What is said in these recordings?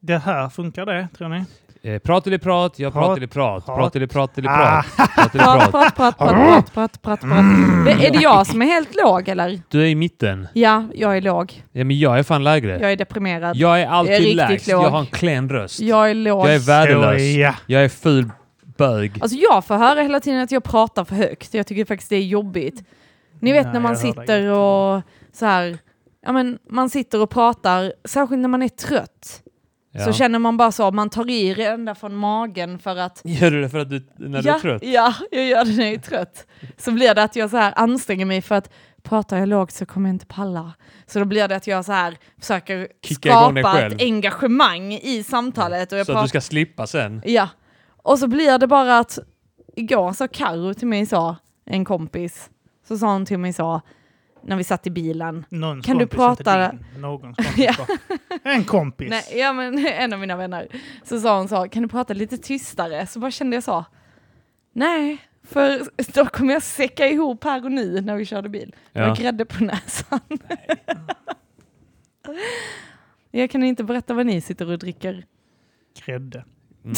Det här funkar det, tror ni? Eh, prat eller prat, jag Prat, pratar eller prat, prat. prat eller prat eller Ah. prat, prat eller Prat, prat. prat, prat, prat, prat, prat, prat. Mm. Det- Är det jag som är helt låg eller? Du är i mitten. Ja, jag är låg. Ja, men jag är fan lägre. Jag är deprimerad. Jag är Jag är alltid riktigt lägst. låg. Jag har en klen röst. Jag är låg. Jag är värdelös. Så, ja. Jag är ful bög. Alltså jag får höra hela tiden att jag pratar för högt. Jag tycker faktiskt det är jobbigt. Ni vet Nej, när man jag hör dig sitter inte. och så här, ja men man sitter och pratar, särskilt när man är trött. Så Ja. känner man bara så, man tar i ända från magen för att Gör du det för att du, när du ja, är trött? Ja, jag gör det när jag är trött. Så blir det att jag så här anstränger mig för att pratar jag lågt så kommer jag inte palla. Så då blir det att jag så här försöker Kicka igång dig skapa själv. ett engagemang i samtalet. Och jag Så att pratar- du ska slippa sen. Ja. Och så blir det bara att igår sa Karo till mig så, en kompis, så sa hon till mig så, när vi satt i bilen. Någons Kan du kompis, inte prata- din. Någons kompis. bara. En kompis. Nej, ja men en av mina vänner. Så sa hon så, kan du prata lite tystare? Så bara kände jag så, nej, för då kommer jag säcka ihop här och nu när vi körde bil. Det var Ja. grädde på näsan. jag kan inte berätta vad ni sitter och dricker. Grädde. Mm.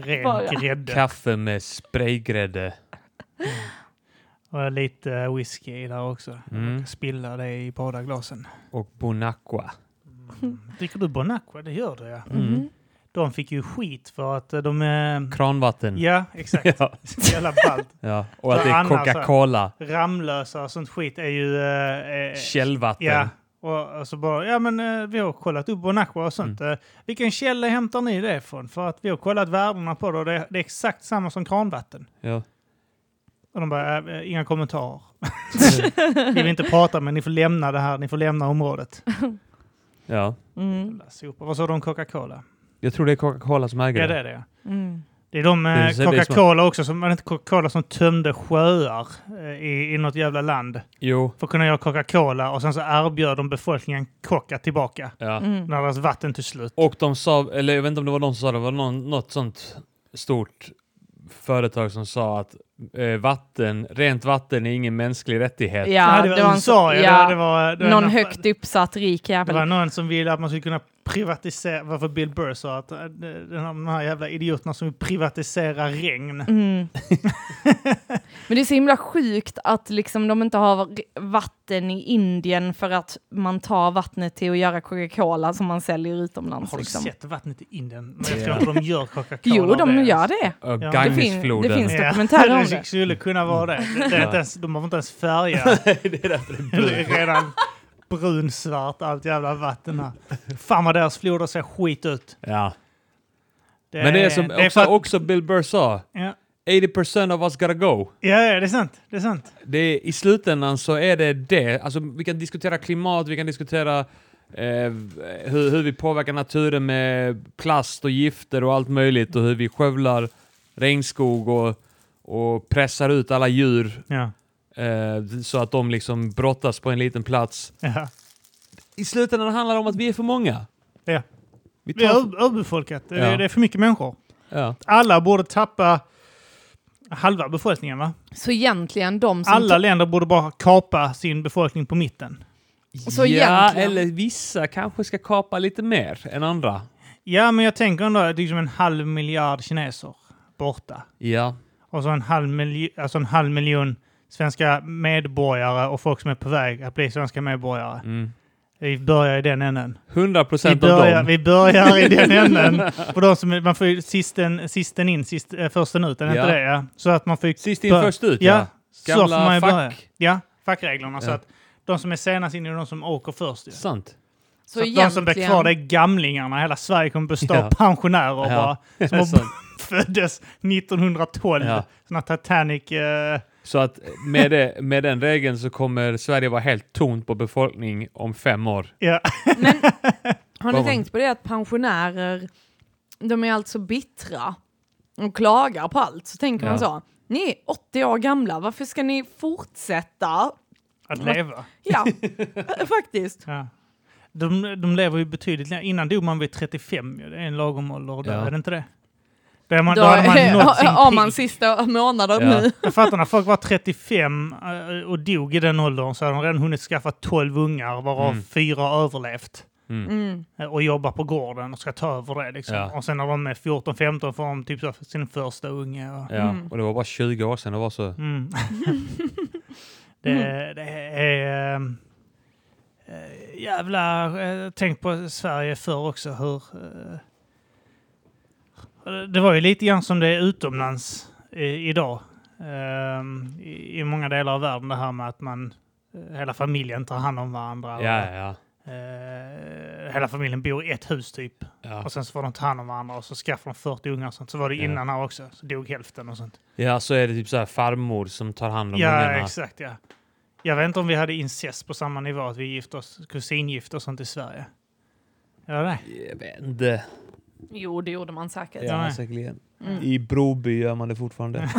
Ren Bara. grädde. Kaffe med spraygrädde. Och lite eh, whisky där också. Mm. Spilla det i båda glasen. Och Bonacqua. Mm. Dricker du Bonacqua? Det gör du ja. Mm. Mhm. De fick ju skit för att eh, de... eh, Kranvatten. Ja, alltså. exakt. Ja. Så Jävla ballt. ja. Och att det är Annars- Coca-Cola. Ramlösa och sånt skit är ju... eh, eh, Källvatten. Ja, och, och så bara, ja men eh, vi har kollat upp Bonacqua och sånt. Mm. Eh, vilken källa hämtar ni det ifrån? För att vi har kollat värdena på det och det, det är exakt samma som kranvatten. Ja. Och de bara, eh, eh, inga kommentarer. vi vill inte prata men ni får lämna det här, ni får lämna området. ja. Mm. Jävla sopor. Vad sa de om Coca-Cola? Jag tror det är Coca-Cola som äger Ja det det. är det. Mm. Det är de Det eh, är så- det är Coca-Cola också, som, var det inte Coca-Cola som tömde sjöar eh, i, i något jävla land Jo. för att kunna göra Coca-Cola och sen så erbjöd de befolkningen Coca tillbaka Ja. Mm. när deras vatten tog slut. Och de sa, eller jag vet inte om det var de som sa det, det var någon, något sånt stort företag som sa att eh, vatten, rent vatten är ingen mänsklig rättighet. Ja, Nej, det var, en- USA, ja. ja. Det, det var, det var Någon en- högt uppsatt rik Det jävel. var någon som ville att man skulle kunna privatisera, varför Bill Burr sa att eh, den här, de här jävla idioterna som vill privatisera regn. Mm. Men det är så himla sjukt att liksom de inte har vatten i Indien för att man tar vattnet till att göra Coca-Cola som man säljer utomlands. Har du liksom. sett vattnet i Indien? Men jag tror Ja. inte de gör Coca-Cola Jo, av de det. gör det. Och Det Det, fin- Gangesfloden. det finns Ja. dokumentärer om Det det. skulle kunna vara det. det, det är inte ens, de behöver inte ens färga. det är därför det är Det blod. är redan brunsvart allt jävla vatten här. Fan vad deras floder ser skit ut. Ja. Men det är som Eh, för också, att- också Bill Burr sa, Ja. 80% of us gotta go. Ja, ja, det är sant. Det är sant. Det är, I slutändan så är det det. Alltså, vi kan diskutera klimat, vi kan diskutera eh, hur, hur vi påverkar naturen med plast och gifter och allt möjligt och hur vi skövlar regnskog och, och pressar ut alla djur Ja. eh, så att de liksom brottas på en liten plats. Ja. I slutändan handlar det om att vi är för många. Ja. Vi Vi har tar, ur- urbefolkat. Det, Ja. det är för mycket människor. ja. Alla borde tappa halva befolkningen va? Så egentligen de som... Alla tar- länder borde bara kapa sin befolkning på mitten. Så ja, egentligen- eller vissa kanske ska kapa lite mer än andra. Ja, men jag tänker ändå att det är som en halv miljard kineser borta. Ja, Och så en halv, miljo- alltså en halv miljon svenska medborgare och folk som är på väg att bli svenska medborgare. mm. Vi börjar i den änden. 100% Vi av börjar, dem. vi börjar i den änden. För de som, man får ju sisten, sisten in, sist, eh, försten ut, är det Ja. inte det? Ja. Så att man får ju Sist in bör- först ut, Ja, ja. så får man ju fack. börja. Ja, fackreglerna. Så Ja. att de som är senast in är de som åker först. Ja. Sant. så Så att de som blir kvar det är egentligen, gamlingarna. Hela Sverige kommer bestå av Ja. pensionärer Ja. bara. Som har Sant. föddes 1912. Ja. Såna Titanic... Eh, Så att med, det, med den regeln så kommer Sverige vara helt tomt på befolkning om fem år. ja. har ni Bara- tänkt på det att pensionärer, de är alltså bittra och klagar på allt. Så tänker man Ja. så, ni är 80 år gamla, varför ska ni fortsätta? Att leva. Ja, eh, faktiskt. Ja. De, de lever ju betydligt längre. Innan dog man vid 35. ju. Det är en lagom ålder att dö, Ja. är det inte det? Då, är man, Då, då, hade man nått sin har man peak. sista månader Ja. nu. Jag fattar när folk var 35 eh, och dog i den åldern så hade de redan hunnit skaffa 12 ungar varav Mm. fyra överlevt. Mm. Mm. eh, och jobbar på gården och ska ta över det. Liksom. Ja. Och sen när de är 14-15 får de typ så sin första unge. Och, Ja, Mm. och det var bara 20 år sedan det var så. mm. det, det är... ehm, eh, jävla... eh, Tänk på Sverige förr också hur... eh, Det var ju lite grann som det är utomlands i, idag. ehm, i, I många delar av världen det här med att man... eh, Hela familjen tar hand om varandra. Ja, och- ja, ja. Eh, hela familjen bor i ett hus typ. ja. Och sen så får de ta hand om varandra och så skaffar de 40 ungar och sånt. Så var det Ja. innan här också. Så dog hälften och sånt. Ja, så är det typ så här farmor som tar hand om ja, ungarna. exakt ja. Jag vet inte om vi hade incest på samma nivå, att vi gifte oss, kusingifte och sånt i Sverige. Ja, det. Jag vet inte. Jo, det gjorde man säkert. Ja, nej. säkerligen. Mm. I Broby gör man det fortfarande.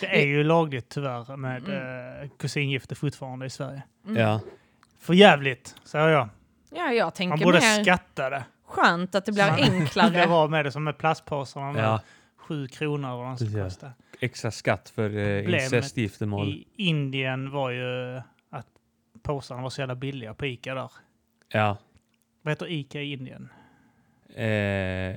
det är ju lagligt tyvärr med Mm. eh, kusingifte fortfarande i Sverige. ja. För jävligt, säger jag. Ja, jag Man tänker borde mer skatta det. skönt att det blir Ja. Det enklare. var med det som med plastpåsarna. med ja. Sju kronor eller vad de ska Ja. kosta. Extra skatt för eh, Problemet incestgiftermål. I Indien var ju att påsarna var så jävla billiga på Ica där. Ja. Vad heter Ica i Indien? Eh,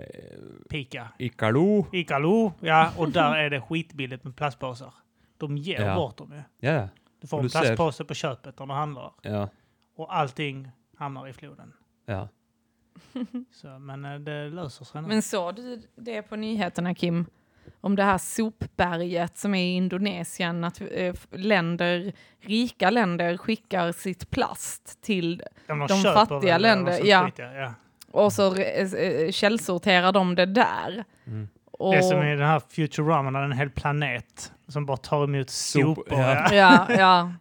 Pika. Icalo. Icalo, ja. Och där är det skitbilligt med plastpåsar. De ger Ja. bort dem ju. Ja, Du får en Och du ser. plastpåse på köpet när du handlar. ja, Och allting hamnar i floden. ja. Så, men eh, det löser sig nu. Men såg du det på nyheterna, Kim? Om det här sopberget som är i Indonesien, att eh, länder, rika länder skickar sitt plast till Om de köper fattiga det eller länder, något sånt ja. skit, ja. och så eh, eh, källsorterar de det där. Mm. Det Och, är som i den här Futurama, där det är en hel planet som bara tar emot Sop, sopor. ja. Ja. ja, ja.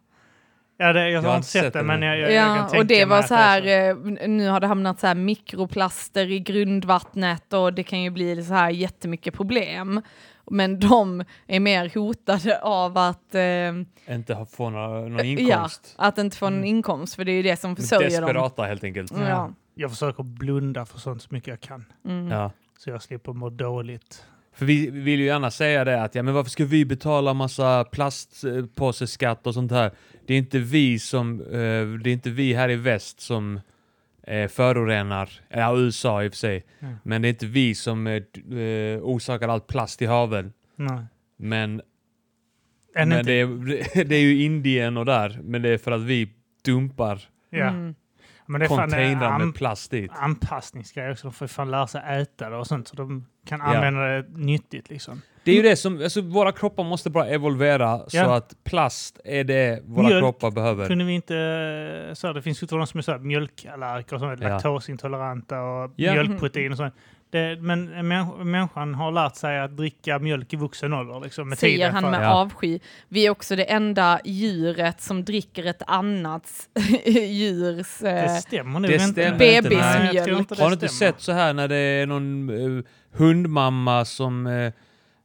Ja, det, jag, har har inte sett det, men jag, jag, jag kan Ja, tänka och det mig var att så är här, eh, nu har det hamnat så här mikroplaster i grundvattnet och det kan ju bli så här jättemycket problem. Men de är mer hotade av att, eh, Inte ha- få några, någon ja, inkomst. att inte få en inkomst, för det är ju det som försörjer dem. Desperata helt enkelt. Mm, Ja. Jag försöker blunda för sånt så mycket jag kan. Mm. Ja. Så jag slipper må dåligt. För vi vi vill ju gärna säga det att ja, men varför ska vi betala massa plastpåseskatt och sånt här? Det är inte vi som, eh, det är inte vi här i väst som eh, förorenar, ja USA i och för sig, Mm. men det är inte vi som eh, d- eh, orsakar allt plast i haven. Nej. Men, Men, Än men inte. det, är, det är ju Indien och där, men det är för att vi dumpar ja. Mm. men det är fan eh, en containrar an, med plast dit. anpassningsgrej också. De får ju fan lära sig äta det och sånt så de kan Ja. använda det nyttigt liksom. Det är ju det som, alltså våra kroppar måste bara evolvera så Ja. att plast är det våra Mjölk. kroppar behöver. Kunde vi inte... eh, Så här, det finns ju de som är så här mjölkallergiker och sånt, Ja. laktosintoleranta och Ja. mjölkprotein och sånt. Det, men män- människan har lärt sig att dricka mjölk i vuxen ålder liksom, med Säger tiden. han för- med Ja. avsky. Vi är också det enda djuret som dricker ett annat djurs... Det Eh, stämmer nog Det inte. stämmer inte, nej. Nej, jag tror Bebismjölk. inte det Har du inte stämmer. sett så här när det är någon eh, hundmamma som, eh,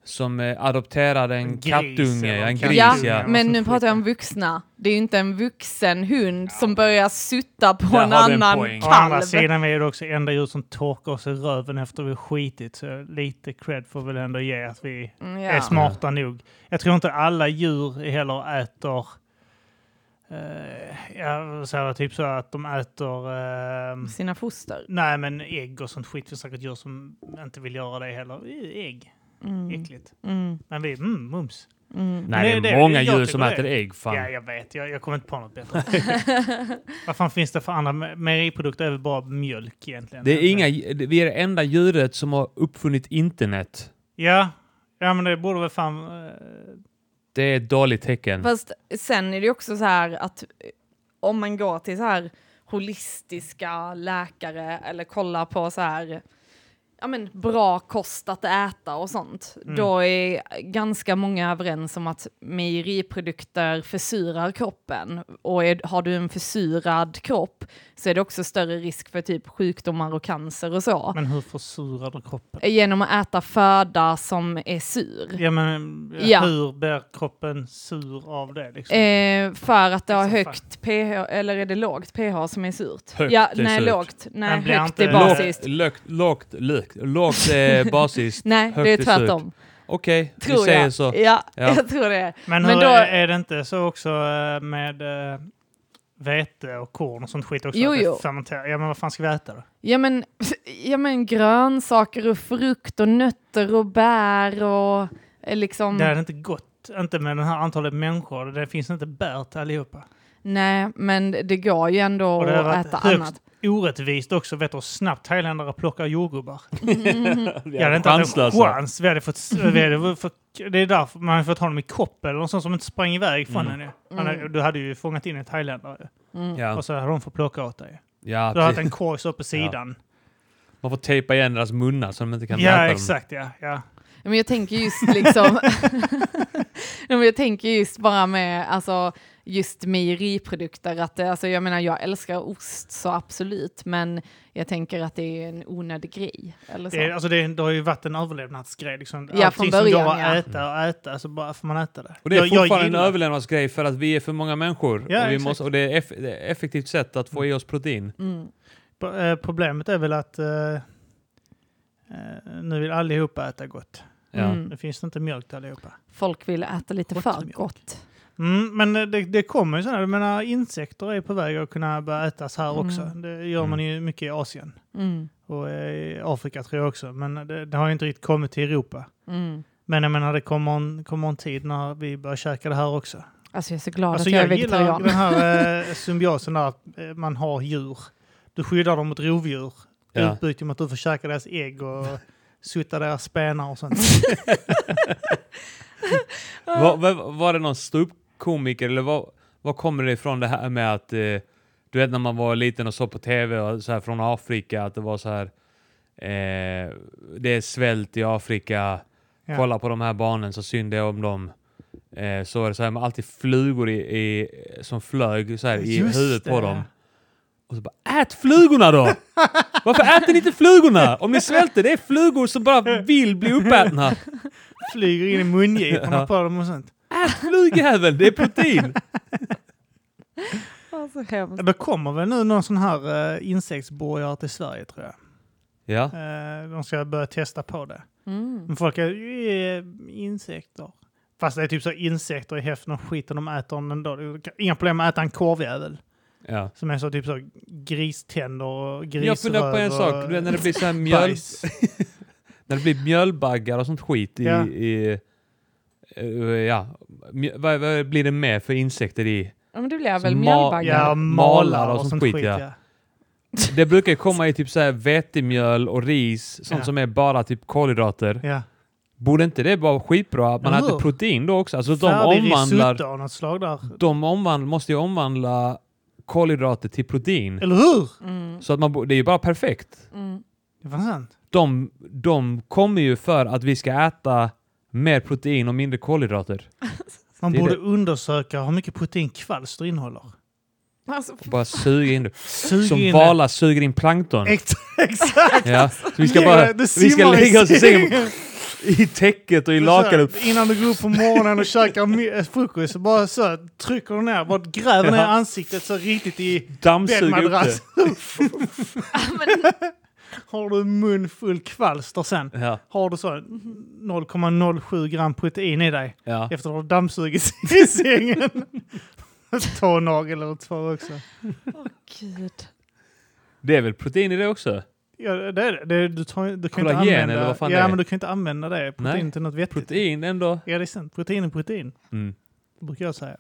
som eh, adopterar en, En gris kattunge, eller ja, en en gris ja. ja, ja. men Som nu pratar jag om skiter. vuxna. Det är ju inte en vuxen hund som börjar sutta på Där en har du en annan poäng. Å andra kalv. sidan är det också enda djur som torkar oss i röven efter vi har skitit. Så lite cred får vi väl ändå ge att vi Mm, är Ja. smarta nog. Jag tror inte alla djur heller äter... Eh, jag säger det, typ så att de äter... Eh, Sina foster. nej, men ägg och sånt skit. Det finns säkert djur som inte vill göra det heller. Eh, Ägg, Mm. äckligt. Mm. Men vi, mm, mums. Mm. Nej, Nej, det det är är- många jag djur tycker som det. äter ägg. Fan. Ja, jag vet. Jag, jag kommer inte på något bättre. Vad fan finns det för andra me- mejeriprodukter? Det är väl bara mjölk egentligen. Det är inga, vi är det enda djuret som har uppfunnit internet. Ja, ja men det borde väl fan... eh, Det är ett dåligt tecken. Fast sen är det ju också så här att eh, om man går till så här holistiska läkare eller kollar på så här ja men, bra kost att äta och sånt, Mm. då är ganska många överens om att mejeriprodukter försurar kroppen. Och är, har du en försurad kropp så är det också större risk för typ sjukdomar och cancer och så. Men hur försurar du kroppen? Genom att äta föda som är sur. Ja, men eh, Ja. hur blir kroppen sur av det? Liksom? Eh, för att det har Liksom, högt pH, eller är det lågt pH som är surt? Högt ja, är nej, surt. lågt. Nej, Men blir högt inte- är basiskt. Lågt, lågt, lågt, lågt eh, basiskt. Nej, högt det är är surt. tvärtom. Okej, vi Tror säger jag. så. Ja, Ja. jag tror det. men hur men då- är, är det inte så också eh, med eh, vete och korn och sånt skit också. Jo, att det jo. fermenterar. Ja, men vad fan ska vi äta då? Ja men, ja men grönsaker och frukt och nötter och bär och eh, liksom... Det är inte gott. Inte med det här antalet människor. Det finns inte bär till allihopa. Nej, men det går ju ändå Och det har att varit äta högst- annat. Orättvist också, vet du hur snabbt thailändare plockar jordgubbar. Vi Jag hade inte haft en chanslösa. chans. Vi hade fått, vi hade fått, det är därför man hade fått ha dem i kopp eller något sånt som inte sprang iväg från Mm. en. ju. Man hade, Mm. du hade ju fångat in en thailändare Mm. Ja, och så hade de fått plocka åt dig. ja Du hade haft precis. en korg så på sidan. man får tejpa igen deras munnar så de inte Ja, kan äta dem. exakt. Ja, ja. Ja, Men jag tänker just liksom... Ja, men jag tänker just bara med alltså, just mejeriprodukter. Att, det- alltså, jag menar, jag älskar ost så absolut, men jag tänker att det är en onödig grej. Eller så. Det, är, alltså det, är- det har ju varit en överlevnadsgrej. Liksom. Ja, Allting från som början, går att ja. äta och äta så bara får man äta det. Och det är Jag- jag fortfarande en gillar- överlevnadsgrej för att vi är för många människor. Ja, och, vi exakt. måste, och det är eff, det är ett effektivt sätt att få i oss protein. Mm. Pro- eh, Problemet är väl att eh, eh, nu vill allihopa äta gott. Ja. Mm. Nu finns det inte mjölk till allihopa. Folk vill äta lite Gott för mjölk. gott. Mm, men det, det kommer ju sådana, jag menar insekter är på väg att kunna börja ätas här Mm. också. Det gör man ju mycket i Asien Mm. och eh, i Afrika tror jag också. Men det, det har ju inte riktigt kommit till Europa. Mm. Men jag menar det kommer en, kommer en tid när vi börjar käka det här också. Alltså jag är så glad Alltså att jag, jag är gillar vegetarian. den här eh, symbiosen där att eh, man har djur. Du skyddar dem mot rovdjur i Ja. utbyte mot att du får käka deras ägg och sutta deras spenar och sånt. Var, var, var det någon ståuppkomiker eller var, var kommer det ifrån det här med att eh, du vet när man var liten och såg på tv och så här från Afrika att det var så här eh, det är svält i Afrika, Ja. kolla på de här barnen så synd det är om dem. Eh, så är det så här med alltid flugor i, i, som flög så här i Just huvudet på det. dem. Och så bara ät flugorna då! Varför äter ni inte flugorna? Om ni svälter, det är flugor som bara vill bli uppätna. Flyger in i mungiporna Ja. på dem och sånt. Ät flugjäveln, det är protein! Ja, så Alltså, hemskt. Det kommer väl nu någon sån här uh, insektsborgare till Sverige tror jag. Ja. Eh, de ska börja testa på det. Mm. Men folk är ju eh, insekter. Fast det är typ så insekter i häften och skiten de äter om den dag. Inga problem att äta en korvjävel. Ja. Som är så typ så griständer och grisröv. Jag funderar på en och sak, du vet när det blir så här mjöl, bajs. när det blir mjölbaggar och sånt skit i... Ja. i eh, ja. Mjö- vad, vad blir det med för insekter i? Ja, men det blir väl Alltså, Ma- mjölbaggar. Ja, malar och, sånt skit, ja. Det brukar ju komma i typ så här vetemjöl och ris, sånt Ja. som är bara typ kolhydrater. ja. Borde inte det vara skitbra att man Eller äter hur? protein då också? Alltså de Färdig omvandlar... risotto av något slag där. Typ. De omvandlar, måste ju omvandla kolhydrater till protein. Eller hur? Mm. Så att man, bo- det är ju bara perfekt. Mm. Det var sant. de, de kommer ju för att vi ska äta mer protein och mindre kolhydrater. Man Det är borde det. undersöka hur mycket protein kvalster innehåller. Alltså, Och bara suga in det. Sug Som in det. valar suger in plankton. Ex- Exakt! Ja. Så vi ska Du bara vi ska simmar i lägga oss i sängen sängen. i täcket och i Så här, lakanet. Innan du går upp på morgonen och käkar mi- eh, frukost, så bara så här, trycker du ner, bara gräver ner Ja. ansiktet så riktigt i Dammsuger upp det. bäddmadrass. Har du mun full kvalster sen, Ja, har du så här 0,07 gram protein i dig ja. efter att du har dammsugit i sängen. Tånagel eller två också. gud. Det är väl protein i det också? Ja, det är det. det. är- Du, tar, du kan inte Kollagen använda, eller vad fan ja, det är. men du kan inte använda det protein Nej. till något vettigt. Protein ändå. Ja, det är sant. Protein är protein, Mm. brukar jag säga.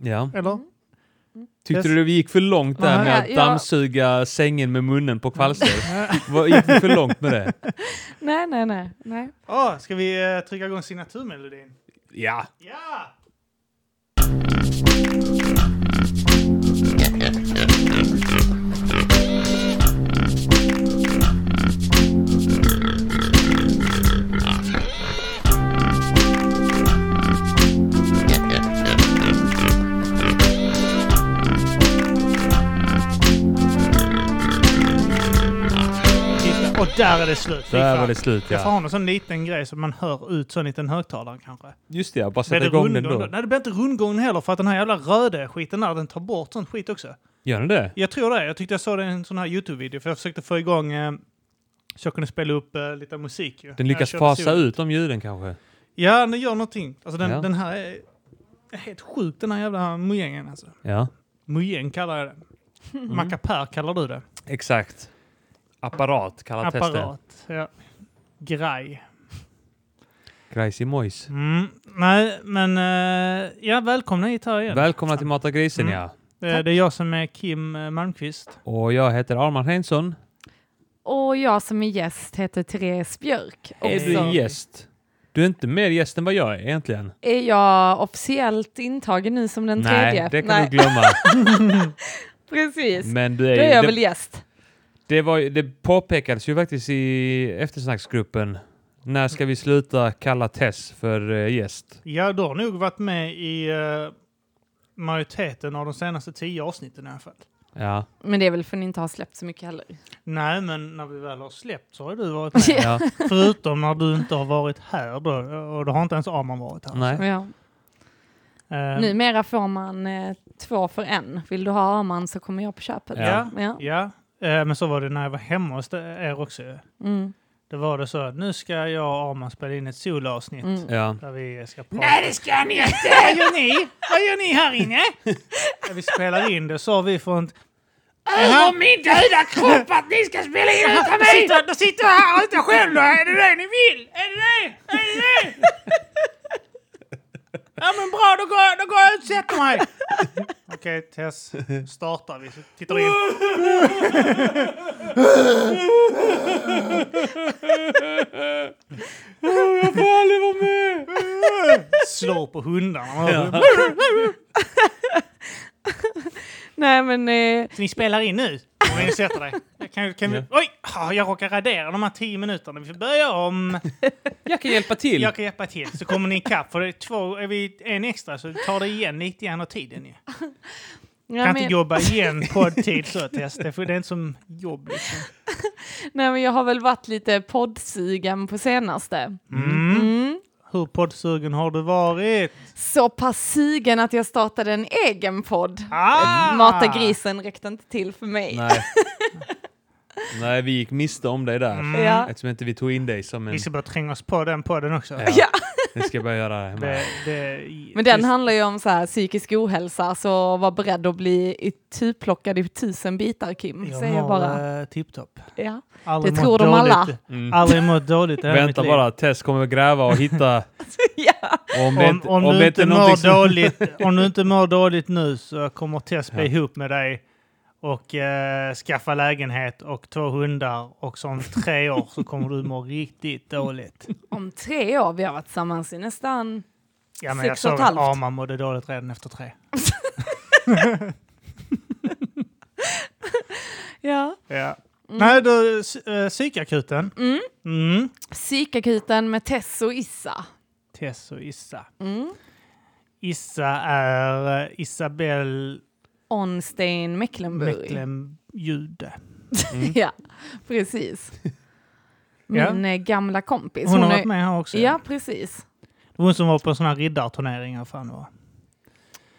Ja. Eller? Tyckte du vi gick för långt där Nej. med Ja, att ja. dammsuga sängen med munnen på kvalster? Vad- Gick vi för långt med det? Nej, nej, nej. nej. Åh, ska vi eh, trycka igång signaturmelodin? Ja. Ja! Titta, Och där är det slut. Fy Där fan. var det slut Jag får ja. ha någon sån liten grej som man hör ut, sån liten högtalare kanske. Just det ja, bara Blir sätta det igång den rundgång då? då. Nej, det blir inte rundgången heller för att den här jävla röda skiten där, den tar bort sånt skit också. Gör den det? Jag tror det. Jag tyckte jag såg det i en sån här YouTube-video för jag försökte få igång eh, så jag kunde spela upp eh, lite musik ju. Den Jag lyckas körde fasa solo. ut de ljuden kanske? Ja, den gör någonting. Alltså den, Ja. den här är är helt sjuk den här jävla mojängen alltså. Ja. Myen kallar jag det. Mackapär kallar du det. Exakt. Apparat kallar testen. Apparat. Ja. Graj. Grejs i mojs. Mm. Nej, men eh, ja, välkomna hit här igen. Välkomna till Mata grisen Mm. ja. Eh, det är jag som är Kim eh, Malmqvist. Och jag heter Arman Heinzon. Och jag som är gäst heter Therese Björk. Är Också. du gäst? Du är inte mer gäst än vad jag är egentligen. Är jag officiellt intagen nu som den tredje? Nej, det kan du glömma. precis. Men du är, Då är jag ju- väl det, gäst. det, var, ju- det påpekades ju faktiskt i eftersnacksgruppen. När ska vi sluta kalla Tess för eh, gäst? Ja, du har nog varit med i eh, majoriteten av de senaste tio avsnitten i alla fall. Ja. Men det är väl för att ni inte har släppt så mycket heller. Nej, men när vi väl har släppt så har du varit med. ja. Förutom när du inte har varit här då. Och då har inte ens Arman varit här. Nej. Ja. Eh, Numera får man eh, två för en. Vill du ha Arman så kommer jag på köpet. Ja. Ja. Ja, eh, men så var det när jag var hemma hos er också. ju. Mm. Det var det så att nu ska jag och Arman spela in ett solavsnitt. Mm. Ja. Där vi ska prata. Nej, det ska ni inte! Vad gör ni? Vad gör ni här inne? När vi spelar in det sa vi från... Över min döda kropp att ni ska spela in utan mig! Då sitter, då sitter jag här och inte själv då! Är det det ni vill? Är det det? Är det det? Ja men bra, då går, jag- då går jag ut och sätter mig! Okej Tess, startar vi. Tittar in. Jag får aldrig vara med! Slår på hundarna. Nej men eh, Så ni spelar in nu? Om vi sätter dig. Jag Kan, kan vi, Ja. oj! Ah, Jag råkar radera de här tio minuterna. Vi får börja om. Jag kan hjälpa till. Jag kan hjälpa till. Så kommer ni ikapp. För det är två, är vi en extra så tar det igen lite grann av tiden ju. ja, Kan men- inte jobba igen poddtid så Tess. Det är för det är inte som jobb liksom. Nej, men jag har väl varit lite poddsugen på senaste. Mm. Mm. Hur poddsugen har du varit? Så pass sugen att jag startade en egen podd. Ah! Mata grisen räckte inte till för mig. Nej. Nej, vi gick miste om dig där. Mm. Ja. Eftersom inte vi tog in dig som en... Vi ska börja tränga oss på den podden också. Ja. Ja. Det ska jag börja göra hemma. Det, det, Men den handlar ju om så här, psykisk ohälsa, så var beredd att bli ituplockad i tusen bitar Kim. Jag säger jag mår bara. eh, tipptopp. Ja. Aldrig Det mått tror de dåligt. alla. Mm. Aldrig mått dåligt i hela mitt Vänta liv. bara, Tess kommer att gräva och hitta... ja. Och om, det Om, inte- om, om du det inte är någonting mår som- dåligt, om du inte mår dåligt nu så kommer Tess bli Ja. ihop med dig och eh, skaffa lägenhet och två hundar och som tre år så kommer du må riktigt dåligt. Om tre år, vi har varit tillsammans i nästan... Ja, men Sex jag och såg ett att halvt. Arman mådde dåligt redan efter tre. Ja. Ja. Nej, du, s- eh, psykakuten. Mm. Mm. Psykakuten med Tess och Issa. Tess och Issa. Mm. Issa är eh, Isabel Onstein Mecklenburg. Mecklenjude. ja, precis. Ja. Min eh, gamla kompis. Hon har är- varit med här också. Ja, precis. Det var hon som var på en sån här riddarturnering. vad Fan det var.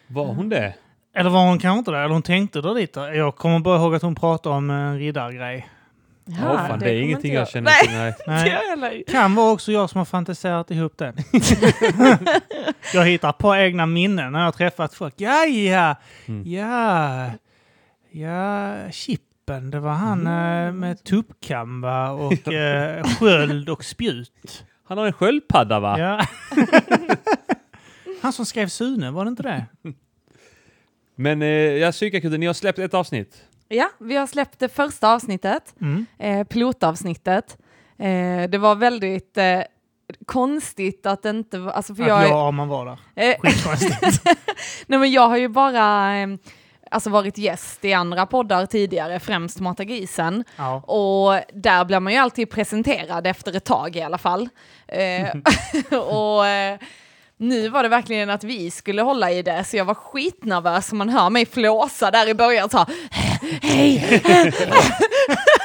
Var hon det? Eller var hon kanske inte där? Eller hon tänkte dra dit. där. Jag kommer bara ihåg att hon pratade om en riddargrej. Ja, fan, det, är kommer ingenting inte jag känner Nej, till. Nej. inte jag Nej. heller. Kan vara också jag som har fantiserat ihop det. jag hittar på egna minnen när jag har träffat folk. Ja, ja, Mm. ja, ja, Chippen, det var han eh, Mm. med tuppkam va? och eh, sköld och spjut. Han har en sköldpadda va? Ja. han som skrev Sune, var det inte det? Men eh, jag psykakuten, ni har släppt ett avsnitt. Ja, vi har släppt det första avsnittet, Mm. eh, pilotavsnittet. Eh, det var väldigt eh, konstigt att det inte var... Alltså för Att jag, jag och Arman var där. eh, Skitkonstigt. nej men jag har ju bara eh, alltså varit gäst i andra poddar tidigare, främst Mata grisen. ja. Och där blir man ju alltid presenterad efter ett tag i alla fall. Eh, och eh, nu var det verkligen att vi skulle hålla i det, så jag var skitnervös och man hör mig flåsa där i början så här, hej!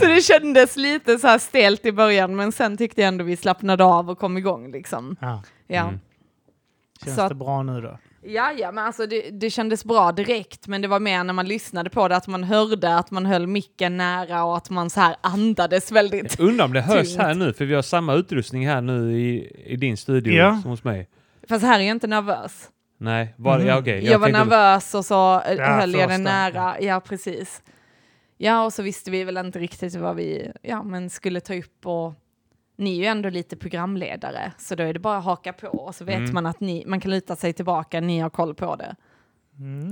så det kändes lite så här stelt i början, men sen tyckte jag ändå vi slappnade av och kom igång liksom. Ja. Ja. Mm. Känns Så att- det bra nu då? Ja, ja, men alltså det, det kändes bra direkt, men det var mer när man lyssnade på det att man hörde att man höll micken nära och att man så här andades väldigt. Undrar om det hörs Tungt. här nu, för vi har samma utrustning här nu i, i din studio Ja. som hos mig. Fast här är jag inte nervös. Nej, var, Mm. ja, okej. Jag, var tänkte- nervös och så eh, Ja, höll jag den första, nära. Ja, precis. Ja, och så visste vi väl inte riktigt vad vi ja, men skulle ta upp. Och ni är ju ändå lite programledare, så då är det bara att haka på. Och så vet Mm. man att ni, man kan luta sig tillbaka, ni har koll på det.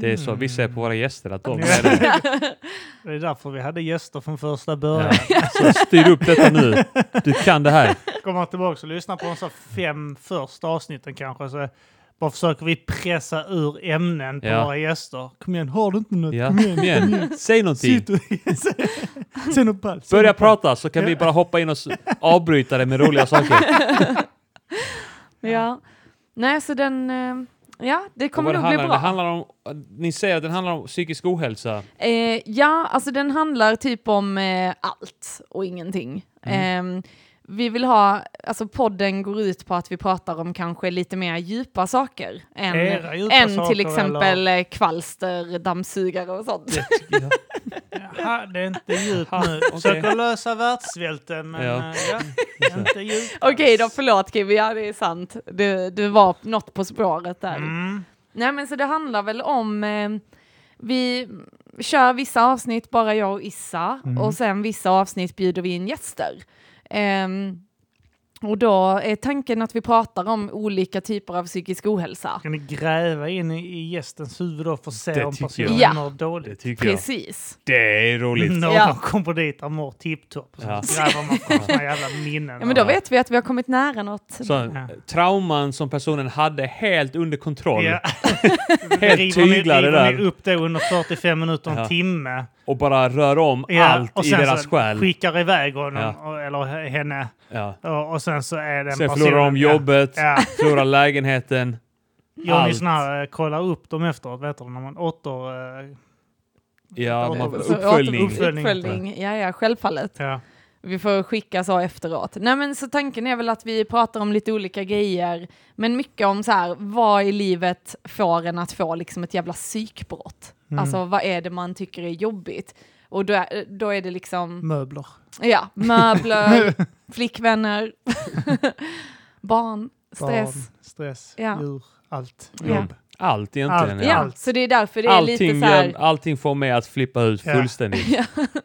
Det är så vi ser på våra gäster att de Mm. Ja. är det. Det är därför vi hade gäster från första Ja. början. Så styr upp detta nu. Du kan det här. Kommer tillbaka och lyssnar på de så fem första avsnitten kanske. Så bara försöker vi pressa ur ämnen på Ja. våra gäster. Kom igen, har du inte något? Ja. Kom igen. Kom igen, säg någonting. Sitt och... Säg något ballt. säg Börja något ballt. prata så kan vi bara hoppa in och s- avbryta det med roliga saker. Ja. Nej, så den... eh, Ja, det kommer Vad det nog bli handlar, om- bra. det handlar om, ni säger att den handlar om psykisk ohälsa. Eh, ja, alltså den handlar typ om eh, allt och ingenting. Mm. Eh, vi vill ha, alltså podden går ut på att vi pratar om kanske lite mer djupa saker. Än, Era djupa än saker, till exempel eh, kvalster, dammsugare och sånt. Jaha, det är inte djupt Jaha, nu. okej. Försöker lösa världssvälten, men Ja. ja. Ja, det är inte djupt. Okej då, förlåt Kim, ja det är sant. Du, du var något på spåret där. Mm. Nej men så det handlar väl om, eh, vi kör vissa avsnitt bara jag och Issa och sen vissa avsnitt bjuder vi in gäster. Ehm, och då är tanken att vi pratar om olika typer av psykisk ohälsa. Kan ni gräva in i- i gästens huvud då för att se Det om tycker personen jag. mår dåligt? Det tycker jag. Precis. Mm. Det är roligt. Någon Ja. kommer dit och mår tipptopp. Så Ja. gräver man fram sina jävla minnen. Ja men då vet vi att vi har kommit nära något. Så, trauman som personen hade helt under kontroll Ja. Helt River ni- tyglar det river ni där. upp det under 45 minuter, en Ja. timme. och bara rör om Ja, allt och i sen deras så själ. skickar iväg honom, Ja. och, eller henne. Ja. Och, och sen så är den Sen personen... förlorar de ja. jobbet, Ja. förlorar lägenheten. Johnny Allt. Snarr eh, kollar upp dem efteråt, vet du, när man åter... eh, Ja, man, Så uppföljning. återuppföljning. Uppföljning. Ja, ja, självfallet. Ja. Vi får skicka så efteråt. Nej men så tanken är väl att vi pratar om lite olika grejer, men mycket om så här, vad i livet får en att få liksom ett jävla psykbrott? Mm. Alltså vad är det man tycker är jobbigt? Och då är, då är det liksom, Möbler. ja, möbler, flickvänner, barn, stress. Barn, stress, Ja. djur, allt. Ja. Jobb. Allt egentligen. Allt. Ja. Ja, så det är därför det är Allting, lite så här, gör- allting får mig att flippa ut Ja. fullständigt.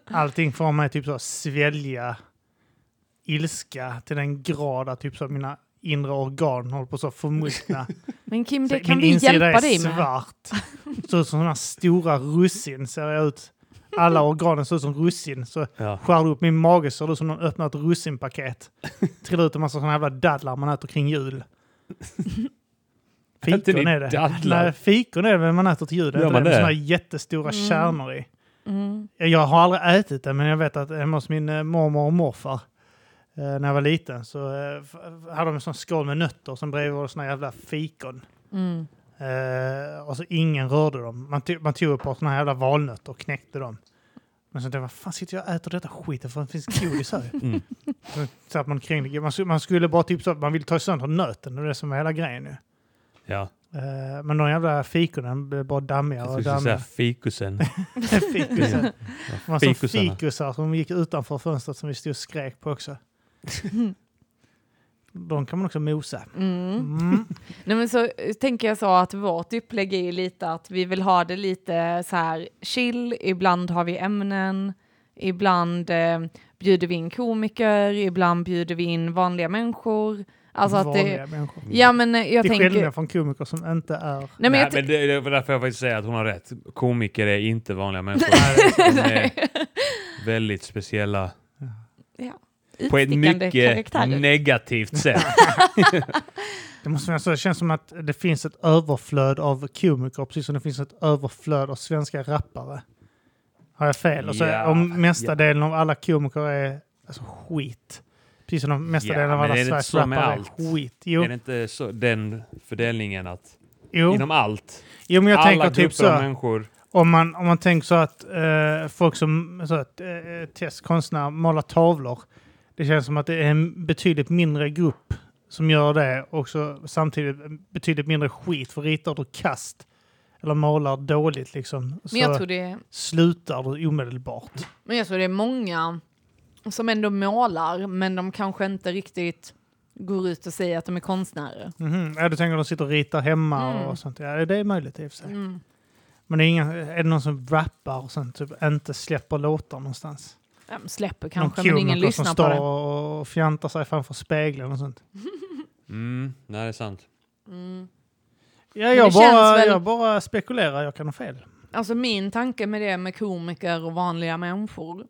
Allting får mig typ så att svälja ilska till den grad att typ så att mina inre organ håller på så att förmultna. men Kim det Så kan min vi insida hjälpa är dig med. svart. Ser ut som sådana stora russin ser jag ut. Alla organen ser ut som russin. Så Ja. skär du upp min mage ser det ut som någon öppnat ett russinpaket. Trillar ut en massa sådana jävla dadlar man äter kring jul. Äter Fikon ni är det. dadlar? Nej, fikon är det men man äter till jul. Det är Gör inte man det. Med det? sådana jättestora kärnor i. Mm. Jag har aldrig ätit det, men jag vet att hemma hos min eh, mormor och morfar eh, när jag var liten så eh, f- hade de en sån skål med nötter som bredvid var såna jävla fikon. Mm. Eh, och så ingen rörde dem. Man, tog- man tog upp på såna här jävla valnötter och knäckte dem. Men så tänkte jag, vad fan sitter jag och äter detta skiten för det finns godis här Mm. Så satt man kring det. Man, skulle- man skulle bara typ så att man vill ta sönder nöten, det är det som är hela grejen nu. Ja. Eh, men de jävla fikonen blev bara dammigare Jag och skulle säga dammigare. fikusen. Fikusen. Det var som Fikusarna. fikusar som gick utanför fönstret som vi stod och skrek på också. De kan man också mosa. Mm. Mm. Nej, men så eh, tänker jag så att vårt upplägg är ju lite att vi vill ha det lite så här chill, ibland har vi ämnen, ibland eh, bjuder vi in komiker, ibland bjuder vi in vanliga människor. Alltså att det, Vanliga människor. ja men eh, jag Till tänker... skillnad från komiker som inte är... Nej, men Nej, jag men t- det, det var därför jag faktiskt säger att hon har rätt. Komiker är inte vanliga människor. De är väldigt speciella. På ett utstickande mycket Mm. karaktärer. negativt sätt. Det, måste vara så, det känns som att det finns ett överflöd av komiker, precis som det finns ett överflöd av svenska rappare. Har jag fel? Och så, Ja, om mesta ja. delen av alla komiker är alltså, skit. Precis som de mesta Ja, delen av men alla är det inte Sveriges så med rappare allt? är skit. Jo, Är det inte så, den fördelningen att jo. inom allt, jo men jag alla tänker grupper typ så. av människor. Om man, om man tänker så att eh, folk som så att, eh, test, konstnärer målar tavlor. Det känns som att det är en betydligt mindre grupp som gör det och så samtidigt betydligt mindre skit för ritar du kast eller målar dåligt liksom så men, jag tror det, är- slutar du omedelbart. men jag tror det är många som ändå målar, men de kanske inte riktigt går ut och säger att de är konstnärer. Mhm. Ja, du tänker att de sitter och ritar hemma Mm. och sånt. Ja, det är möjligt i och för sig. Mm. Men det är, inga, är det någon som rappar och sen typ inte släpper låtar någonstans? De släpper kanske, någon men ingen komiker som lyssnar på står det. och fjantar sig framför spegeln och sånt. Mm, nej, det är sant. Mm. Ja, Men jag, det känns bara, väl- jag bara spekulerar, jag kan ha fel. Alltså min tanke med det med komiker och vanliga människor,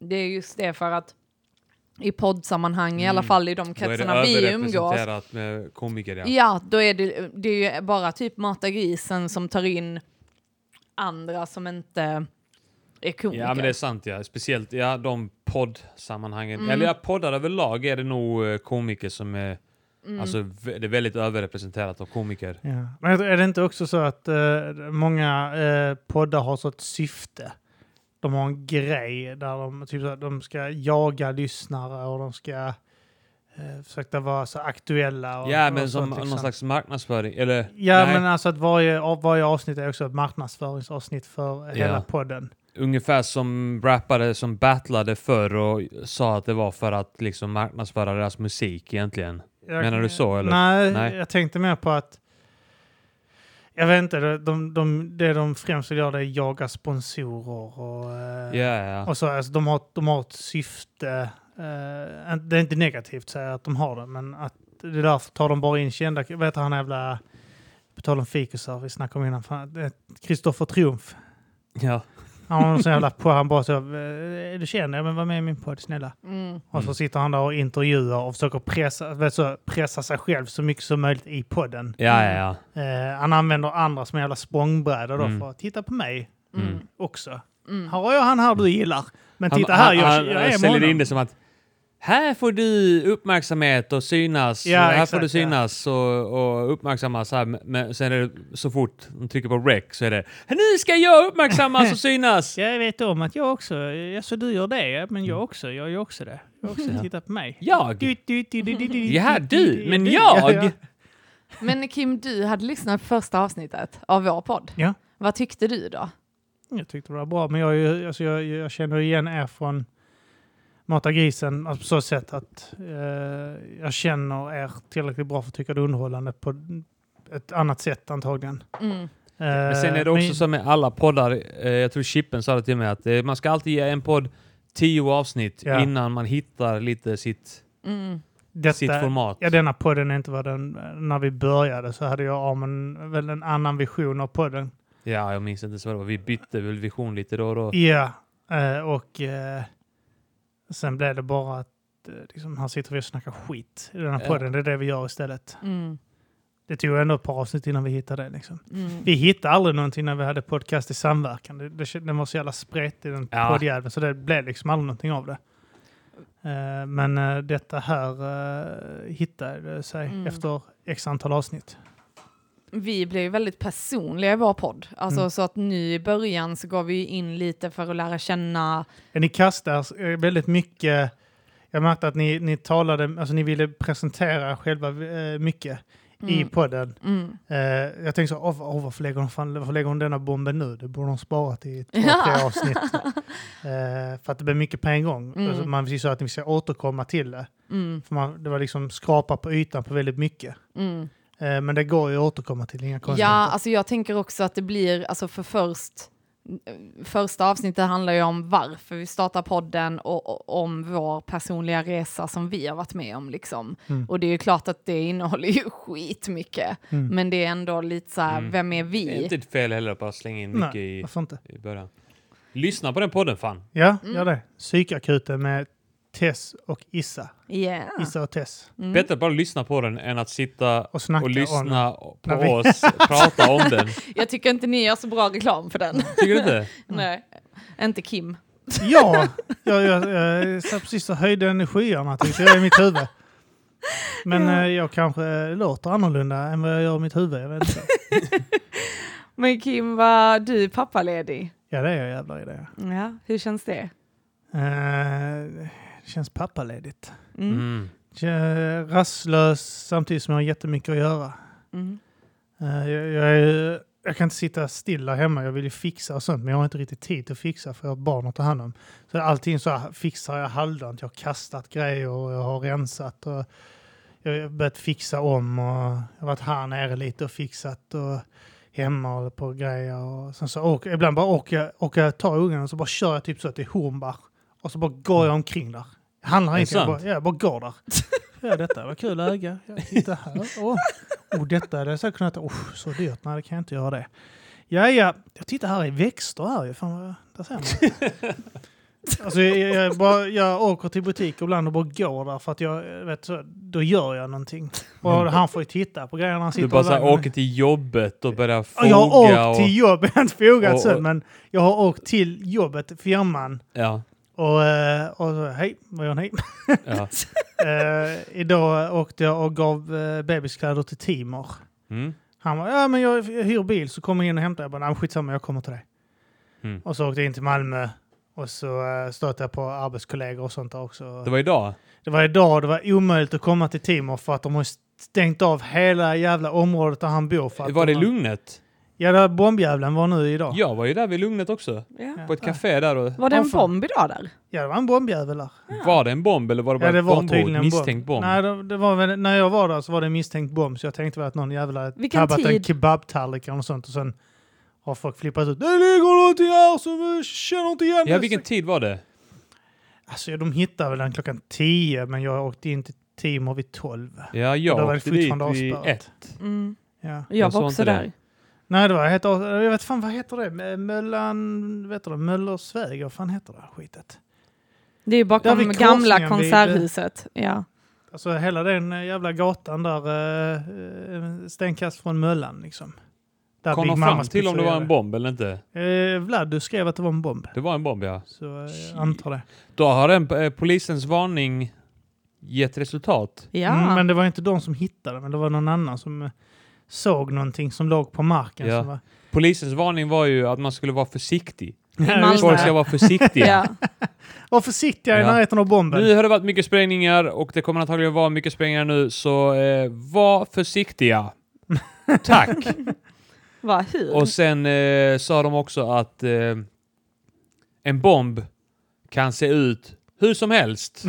det är just det för att i poddsammanhang, i alla Mm. fall i de Då är det kretsarna vi umgås, överrepresenterat med komiker, ja. Ja, då är det, det är ju bara typ Mata grisen som tar in andra som inte är komiker. Ja, men det är sant, ja. Speciellt ja, de poddsammanhangen. Eller ja, poddar överlag är det nog eh, komiker som är... Alltså, vä- det är väldigt överrepresenterat av komiker. Ja. Men jag tror- är det inte också så att eh, många eh, poddar har så ett syfte? De har en grej där de, typ, så här, de ska jaga lyssnare och de ska eh, försöka vara så aktuella. Och, Ja, och men som sånt, liksom. någon slags marknadsföring. Eller, Ja, nej, men alltså att varje, av- varje avsnitt är också ett marknadsföringsavsnitt för hela podden. Ungefär som rappare som battlade förr och sa att det var för att liksom marknadsföra deras musik egentligen. Jag- Menar du så, eller? Nej, Nej. jag tänkte mer på att... Jag vet inte, de, de, de, det de främst vill göra det är att jaga sponsorer och, eh, Ja, ja. och så. Alltså, de, har, de har ett syfte. eh, det är inte negativt säger jag att de har det, men att det är därför tar de bara in kända... Vad heter han jävla... På tal om fikusar, vi snackade om innan. fan, eh, Kristoffer Triumf. ja. Han har någon sån jävla på, han bara så, eh, är du känd? Ja, men var med i min podd snälla. Mm. Och så sitter han där och intervjuar och försöker pressa, vet så, pressa sig själv så mycket som möjligt i podden. Ja, ja, ja. Eh, han använder andra som jävla språngbrädor då Mm. för att titta på mig Mm. också. Mm. Här har jag han här du gillar. Men titta Han- här, jag, han- jag han är med säljer in honom. det som att här får du uppmärksamhet och synas. Ja, här får exakt, du ja. synas och, och uppmärksammas. Här. Men sen är det så fort de trycker på rec så är det nu ska jag uppmärksammas och synas. Jag vet om att jag också, ja, så du gör det, ja, men jag också, jag gör också det. Jag också, titta på mig. Jag? Du, du, du, du, du, du, Ja, du, men Ja, ja. jag? Men Kim, du hade lyssnat på första avsnittet av vår podd. Ja. Vad tyckte du då? Jag tyckte det var bra, men jag, är ju- alltså jag, jag känner igen er från Mata grisen alltså på så sätt att eh, jag känner er tillräckligt bra för att tycka det är underhållande på ett annat sätt antagligen. Eh, Mm. Men sen Äh, är det också som med alla poddar, eh, jag tror Chippen sa det till mig, att eh, man ska alltid ge en podd tio avsnitt Ja. innan man hittar lite sitt, Mm. sitt format. Ja, denna podden är inte vad den... När vi började så hade jag om en, väl en annan vision av podden. Ja, jag minns inte ens vad det var. Vi bytte väl vision lite då och då. Ja, eh, och eh, sen blev det bara att eh, liksom, här sitter vi och snackar skit i den här Ja. podden. Det är det vi gör istället. Mm. Det tog ändå ett par avsnitt innan vi hittade det. Liksom. Mm. Vi hittade aldrig någonting när vi hade podcast i samverkan. Det, det, den var så jävla spretig den Ja. poddjäveln så det blev liksom aldrig någonting av det. Eh, men eh, detta här uh, hittade det sig Mm. efter x antal avsnitt. Vi blev ju väldigt personliga i vår podd. Alltså, Mm. Så att nu i början så går vi ju in lite för att lära känna... Eh, Ni kastar eh, väldigt mycket... Jag märkte att ni, ni talade, alltså ni ville presentera er själva eh, mycket i Mm. podden. Mm. Eh, jag tänkte så, åh, vad- åh, varför, lägger hon, fan, varför lägger hon denna bomben nu? Det borde hon sparat i två, Ja. tre avsnitt. Eh, för att det blir mycket på en gång. Mm. Alltså, man vill ju så att vi ska återkomma till det. Mm. För man, det var liksom skrapa på ytan på väldigt mycket. Mm. Eh, men det går ju att återkomma till, inga Ja, konstigheter. alltså jag tänker också att det blir, alltså för först, första avsnittet handlar ju om varför vi startar podden och, och om vår personliga resa som vi har varit med om liksom. Mm. Och det är ju klart att det innehåller ju skitmycket, Mm. men det är ändå lite så här, Mm. vem är vi? Det är inte ett fel heller att bara slänga in mycket Nej, i, varför inte? i början. Lyssna på den podden fan. Ja, Mm. gör det. Psykakuten med Tess och Issa. Yeah. Issa och Tess. Bättre att bara lyssna på den än att sitta Och Mm. snacka och om... lyssna på När vi- oss prata om den. Jag tycker inte ni gör så bra reklam för den. Tycker du inte? Nej, inte Kim. Ja! Jag, jag, jag satt precis och höjde energierna tyckte jag i mitt huvud. Men eh, jag kanske eh, låter annorlunda än vad jag gör i mitt huvud. Jag vet inte. Men Kim, var du pappaledig? Ja, det är jag jävlar i det. Ja, hur känns det? Eh, det känns pappaledigt. Mm. Mm. Kän- Rastlös samtidigt som jag har jättemycket att göra. Mm. Eh, jag, jag, är, jag kan inte sitta stilla hemma. Jag vill ju fixa och sånt, men jag har inte riktigt tid att fixa för jag har barn att ta hand om. Så allting så här fixar jag halvdant. Jag har kastat grejer och jag har rensat. Och jag har börjat fixa om och jag har varit här nere lite och fixat och hemma och håller på och grejer. Och sen så åker, ibland bara åker jag, åker jag tar ungarna och så bara kör jag typ så till Hornbach och så bara går jag omkring där. Jag handlar Mm. Är det inte, jag sant? bara, ja, jag bara går där. Ja, detta var kul öga. Ja, titta här. Åh, oh, detta hade jag säkert kunnat... Oh, så dyrt. Nej, det kan jag inte göra det. Ja, ja. Jag tittar här i växter här ju. Fan, vad- där ser man. Alltså, jag, jag, jag, bara, jag åker till butik och ibland och bara går där för att jag jag vet, så, då gör jag någonting. Och han får ju titta på grejerna han sitter Mm. Du bara och såhär, väger. åker till jobbet och börjar Ja, Jag har foga åkt och... till jobbet, jag har inte fogat och- sen, men jag har åkt till jobbet, firman. Ja, Och, eh, och så, hej, vad gör ni? ja. Eh, idag åkte jag och gav eh, bebiskläder till Timor. Mm. Han var ja men jag jag hyr bil så kommer jag in och hämtar. Jag bara, nej men skitsamma jag kommer till dig. Mm. Och så åkte jag in till Malmö och så eh, stötte jag på arbetskollegor och sånt där också. Det var idag? Det var idag, det var omöjligt att komma till Timor för att de har stängt av hela jävla området där han bor. För att Var det de i har- Lugnet? Ja, där bombjävlen var nu idag. Jag var ju där vid Lugnet också. Ja. På ett café där och... Var det Ja, en fan. bomb idag där? Ja, det var en bombjävel där. Var det en bomb eller var det bara ja, det ett var bombhot? tydligen en bomb. Misstänkt bomb? Nej, det, det var väl, när jag var där så var det en misstänkt bomb så jag tänkte väl att någon jävla hade Vilken tabbat en tid? kebabtallrik eller något sånt och sen har folk flippat ut. Det ligger någonting här som eh, känner inte igen Ja, det." vilken tid var det? Alltså de hittar väl den klockan 10 men jag åkte in till Timor vid 12. Ja, Och då jag var det åkte dit fortfarande vid avspärrat. ett. Mm. Ja. Jag, Jag var sa också inte där. det. Nej, det var helt as- Jag vet fan vad heter det? Mö- Möllan... Vet du det? Möllersväg? Vad fan heter det här skitet? Det är Ja, ju bakom vid korsningen gamla vid- konserthuset. Ja. Alltså hela den eh, jävla gatan där, eh, eh, stenkast från Möllan liksom. Där Kom Big de fram Mamas till om det var pizzeria en bomb eller inte? är. Eh, Vlad, du skrev att det var en bomb. Det var en bomb, ja. Så eh, jag antar det. Då har den, eh, polisens varning gett resultat. Ja. Mm, men det var inte de som hittade men det var någon annan som eh, såg någonting som låg på marken. Ja. Som var... Polisens varning var ju att man skulle vara försiktig. Malmö. just det. Folk ska vara försiktiga. ja. Var försiktiga i Ja. närheten av bomben. Nu har det varit mycket sprängningar och det kommer antagligen vara mycket sprängningar nu, så eh, var försiktiga. Tack! Vad hur? Och sen eh, sa de också att eh, en bomb kan se ut hur som helst.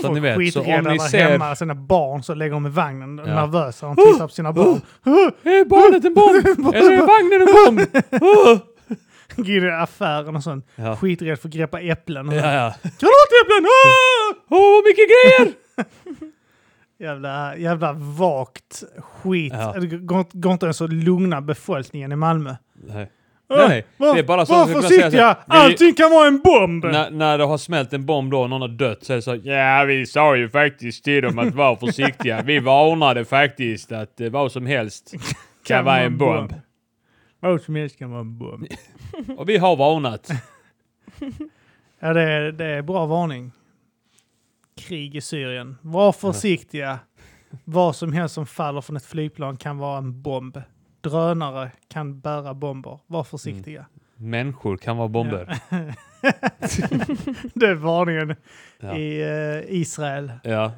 så att ni vet, så om ni ser... hemma sina barn så lägger de i vagnen Ja. Uh, nervösa. De tittar på sina barn. Är barnet en bomb? Eller är vagnen en bomb? Går i affären och sånt. Ja. Skiträdd för att greppa äpplen. Och Ja, sånt. ja. Granatäpplen! Ah! Åh, vad mycket grejer! Jävla, jävla vagt skit. Ja. Det går, inte- går inte ens att lugna befolkningen i Malmö. Äh, Nej. Nej, nej. Var, Det är bara så var att jag skulle kunna säga försiktiga! så här, det är- Allting kan vara en bomb! När, när det har smält en bomb då och någon har dött så är det så Ja, vi sa ju faktiskt till dem att vara försiktiga. Vi varnade faktiskt att eh, vad som helst kan vara en bomb. Vad som helst kan vara en bomb. Och vi har varnat. Ja, det är, det är bra varning. Krig i Syrien. Var försiktiga. Vad som helst som faller från ett flygplan kan vara en bomb. Drönare kan bära bomber. Var försiktiga. Mm. Människor kan vara bomber. Det är varningen Ja. i eh, Israel. Ja.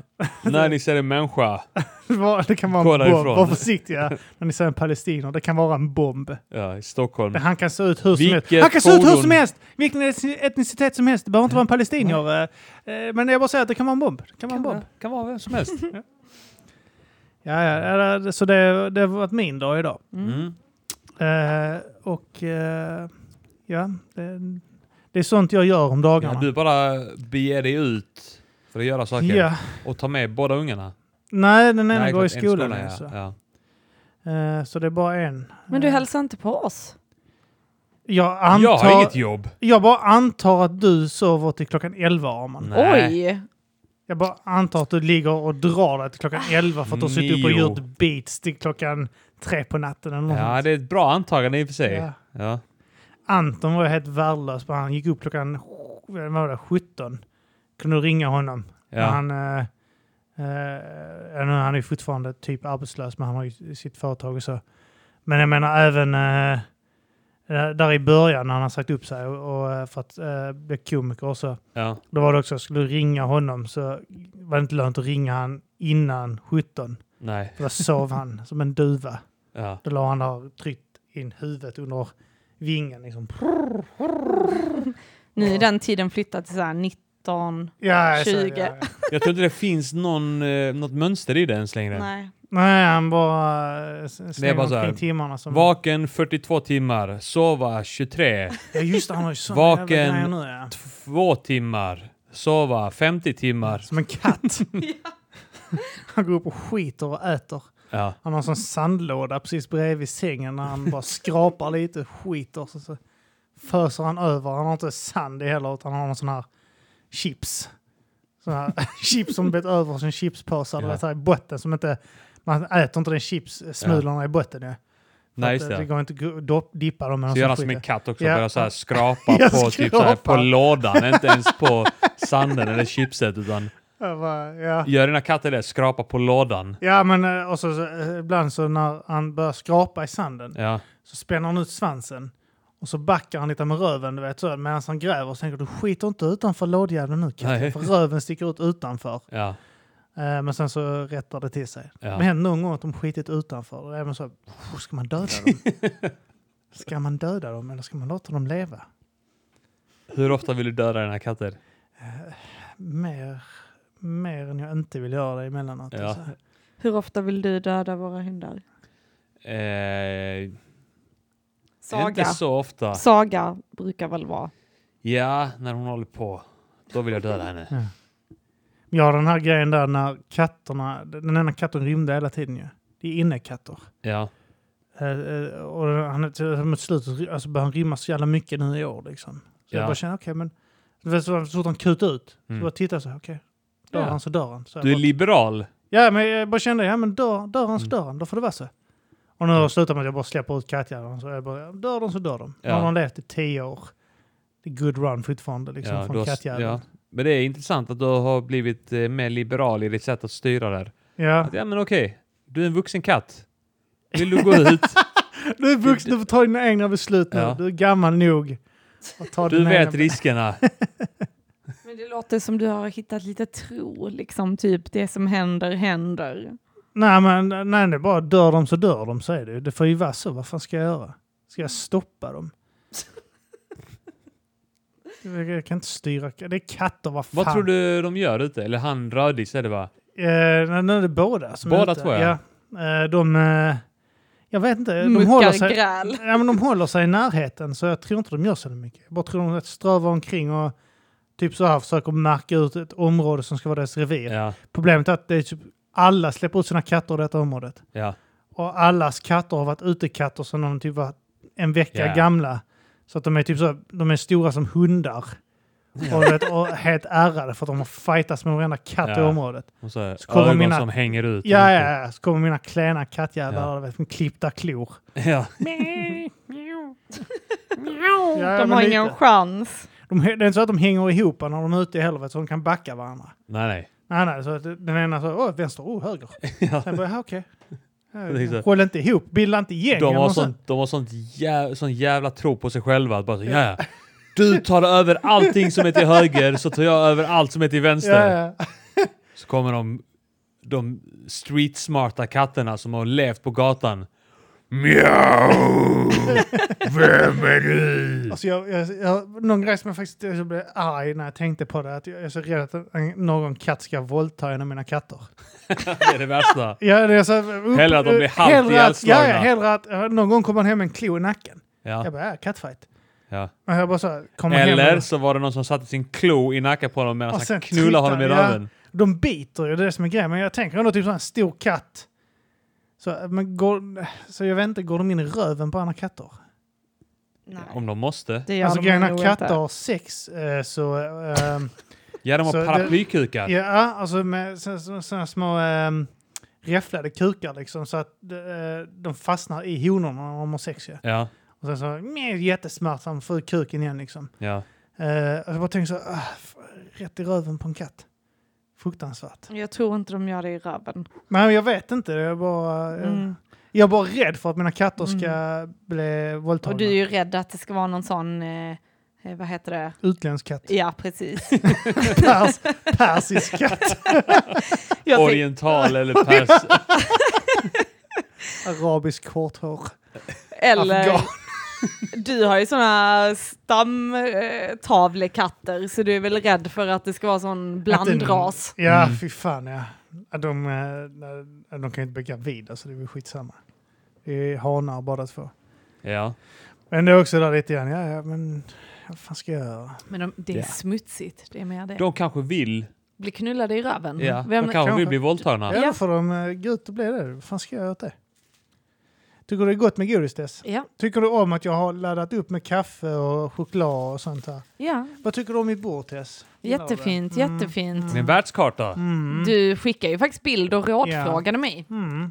När ni ser en människa. Var- Det kan vara Gå en bomb. därifrån. Var försiktiga när ni säger palestinier. Det kan vara en bomb. Ja, i Stockholm. Han kan se ut hur som Mm. Vilket helst. Han kan se ut hur fordon- som helst! Vilken etnic- etnicitet som helst. Det behöver inte vara en palestinier. eh, eh, Men jag bara säger att det kan vara en bomb. Det kan vara en bomb. kan vara vem som helst. Ja, ja, ja, det- så det, det har varit min dag idag. Mm. Eh, och eh, ja, det, det är sånt jag gör om dagarna. Ja, du bara beger dig ut för att göra saker. Ja. Och ta med båda ungarna. Nej, den ena Nej, går i klart, en skolan. skola, alltså. ja. Ja. Eh, så det är bara en. Men du hälsar inte på oss? Jag, antar, Jag har inget jobb. jag bara antar att du sover till klockan 11, Arman. Oj! Jag bara antar att du ligger och drar dig till klockan 11 för att du har suttit upp och Nio. gjort beats till klockan tre på natten. Eller något Ja, sånt. det är ett bra antagande i och för sig. Ja. Ja. Anton var helt värdelös. men Han gick upp klockan vad var det, 17. Kunde du ringa honom. Ja. Men Han, eh, eh, nu är han är ju fortfarande typ arbetslös, men han har ju sitt företag och så. Men jag menar även eh, eh, där i början när han har sagt upp sig och, och, eh, för att eh, bli komiker och så. Ja. Då var det också, skulle du ringa honom så var det inte lönt att ringa han innan 17. Nej. För då sov han som en duva. Ja. Då la han där tryckt in huvudet under vingen. Liksom. Nu är den tiden flyttat till så här 19... Ja, jag 20. säger, ja, ja. Jag tror inte det finns någon, eh, något mönster i det ens längre. Nej. Nej, han bara eh, s- slänger bara så här, omkring timmarna. Som... Vaken 42 timmar, sova 23, Ja, just det, han har ju såna jävla Vaken. grejer nu. Ja. 2 timmar, sova 50 timmar. Som en katt. Han går upp och skiter och äter. Ja. Han har en sån sandlåda precis bredvid sängen när han bara skrapar lite, skiter, så, så föser han över. Han har inte sand i heller utan han har någon sån här chips. Sån här chips som blivit över som chipspåsar Ja. ja. här i botten som inte... Man äter inte den chipssmulorna i botten ju. För Nej, att, just eh, det det. går inte att gu- dop- dippa dem med någon Så gör sån han som skit. en katt också, Ja. börjar så här skrapa Jag på, typ så här, på skrapar. lådan, inte ens på sanden eller chipset utan Jag bara, ja. gör dina katter det, skrapa på lådan. ja, men eh, och så, så, eh, ibland så när han börjar skrapa i sanden Ja. så spänner han ut svansen och så backar han lite med röven, du vet så, medan han gräver och tänker du skiter inte utanför lådjäveln nu Nej. katten, för röven sticker ut utanför. Ja. Eh, men sen så rättar det till sig. Ja. Men händer någon gång att de skitit utanför, och även så, här, "Oh, ska man döda dem? ska man döda dem eller ska man låta dem leva? Hur ofta vill du döda dina katter? Mer, mer än jag inte vill göra det emellanåt. Ja. alltså. Hur ofta vill du döda våra hundar? Eh, inte Saga. så ofta. Saga brukar väl vara. Ja, när hon håller på. Då vill jag döda henne. Men jag har den här grejen där när katterna, den ena katten rymde hela tiden ju. Det är innekatter. Ja. Eh, eh, och han, är till- mot slutet alltså, börjar han rymma så jävla mycket nu i år. Liksom. Så Ja. jag bara känner, okej men... Du vet, så, så fort han kutade ut, Mm. så bara tittade jag så här, okej. Dör Ja. han så dör han. Så jag Du är bara, liberal. ja, men jag bara kände, ja men dör, dör han så Mm. dör han, då får det vara så. Och nu har jag slutat med att jag bara släpper ut kattjävlarna. Så jag bara, dör de så dör de. Ja. Nu har de levt i tio år. Det är good run fortfarande liksom Ja, du från har- kattjäveln. Men det är intressant att du har blivit eh, mer liberal i ditt sätt att styra där. Ja. Att, ja, men okej. Du är en vuxen katt. Vill du gå ut? Du är vuxen, du får ta dina egna beslut nu. Ja. Du är gammal nog. att ta Du dina vet egna... riskerna. Men det låter som du har hittat lite tro, liksom typ det som händer händer. Nej, men nej, det är bara dör de så dör de, säger du. Det får ju vara så. Vad fan ska jag göra? Ska jag stoppa dem? Jag jag kan inte styra. Det är katter, vad fan. Vad tror du de gör ute? Eller han Rödis är det va? Eh, nej, nej, det är båda som Båda är ute. två, ja. ja. Eh, de... Eh, jag vet inte. De håller, Muckar sig, gräl. ja, men de håller sig i närheten, så jag tror inte de gör så mycket. Jag bara tror de strövar omkring och typ så här försöker märka ut ett område som ska vara deras revir. Ja. Problemet är att det är typ alla släpper ut sina katter i detta området. Ja. Och allas katter har varit utekatter sedan de typ var en vecka Ja. gamla. Så att de är typ så, de är stora som hundar. Och, du vet, och helt ärrade för att de har fightats med varenda katt i Ja. området. Och så, Så kommer ögon mina- som hänger ut. Ja, ja, ja. Så kommer mina klena kattjävlar Ja. ja. med klippta klor. ja. Ja, ja, De men har lite. ingen chans. De, det är inte så att de hänger ihop när de är ute i helvete så de kan backa varandra. Nej, nej. Nej, nej. Så att den ena så, åh, vänster, åh, höger. Ja. Sen bara, "Ja, okej. Jag tänkte så. Håll inte ihop, bilda inte gäng. De eller har, något sånt. sånt, de har sånt jä, sån jävla tro på sig själva. Att bara så, ja, ja. Du tar över allting som är till höger så tar jag över allt som är till vänster. Ja, ja. Så kommer de, de street-smarta katterna som har levt på gatan. Mjau! Vem är du? Alltså jag, jag, jag, någon grej som jag faktiskt jag blev arg när jag tänkte på det, att jag är så rädd att en- någon katt ska våldta en av mina katter. Det är det värsta. Ja, det är så, upp, Hellre att de blir eh, halvt hellre att- ja, ihjälslagna. ja, hellre att eh, någon gång kommer han hem med en klo i nacken. Ja, Jag bara, ja, kattfight. ja. Och jag bara så här, kommer hem Eller och, så var det någon som satte sin klo i nacken på honom medan och han sen knullade honom i tittar- ja, röven. De biter ju, det är det som är grejen. Men jag tänker ändå typ så här, en stor katt. Så, men går, så jag vet inte, går de in i röven på andra katter? Nej. Om de måste. Det gör alltså de grejen är nog att inte. katter har sex, eh, så... ehm, Ja, de har Så det- paraplykukar. Ja, alltså med sådana små ähm, räfflade kukar liksom så att eh, de fastnar i honorna när de har sex. Ja. Ja, Och sen så meh, jättesmärtsamt får ut kuken igen liksom. ja. Eh, och jag bara tänker så, ah, f- rätt i röven på en katt. Fruktansvärt. Jag tror inte de gör det i röven. Men jag vet inte, jag är bara, eh, Mm. jag är bara rädd för att mina katter ska bli Och våldtagna. du är ju rädd att det ska vara någon sån, eh, eh, vad heter det? Utländsk katt. Ja, precis. Pers, persisk katt. Jag tänkte- Oriental eller pers... Arabisk korthår. eller Afghan. Du har ju sådana stamtavlekatter så du är väl rädd för att det ska vara sån blandras. Ja, fy fan ja. Ja, De, eh, de kan ju inte bli gravida så det är väl skitsamma. Det är hanar båda två. Ja. Men det är också där lite grann, ja, ja men vad fan ska jag göra? Men de, det är Ja. smutsigt, det är mer det. De kanske vill, Bli knullade i röven. ja. Vem, de kanske vill kanske. bli våldtagna. Ja, då får de eh, gå ut och bli det. Vad fan ska jag göra åt det? Tycker du det är gott med godis Tess? ja, Tycker du om att jag har laddat upp med kaffe och choklad och sånt här? ja. Vad tycker du om mitt bord Tess? Gillar du det? Jättefint, Mm. jättefint. Det är en världskarta. Mm. Du skickar ju faktiskt bild och rådfrågade mig. Mm. Mm.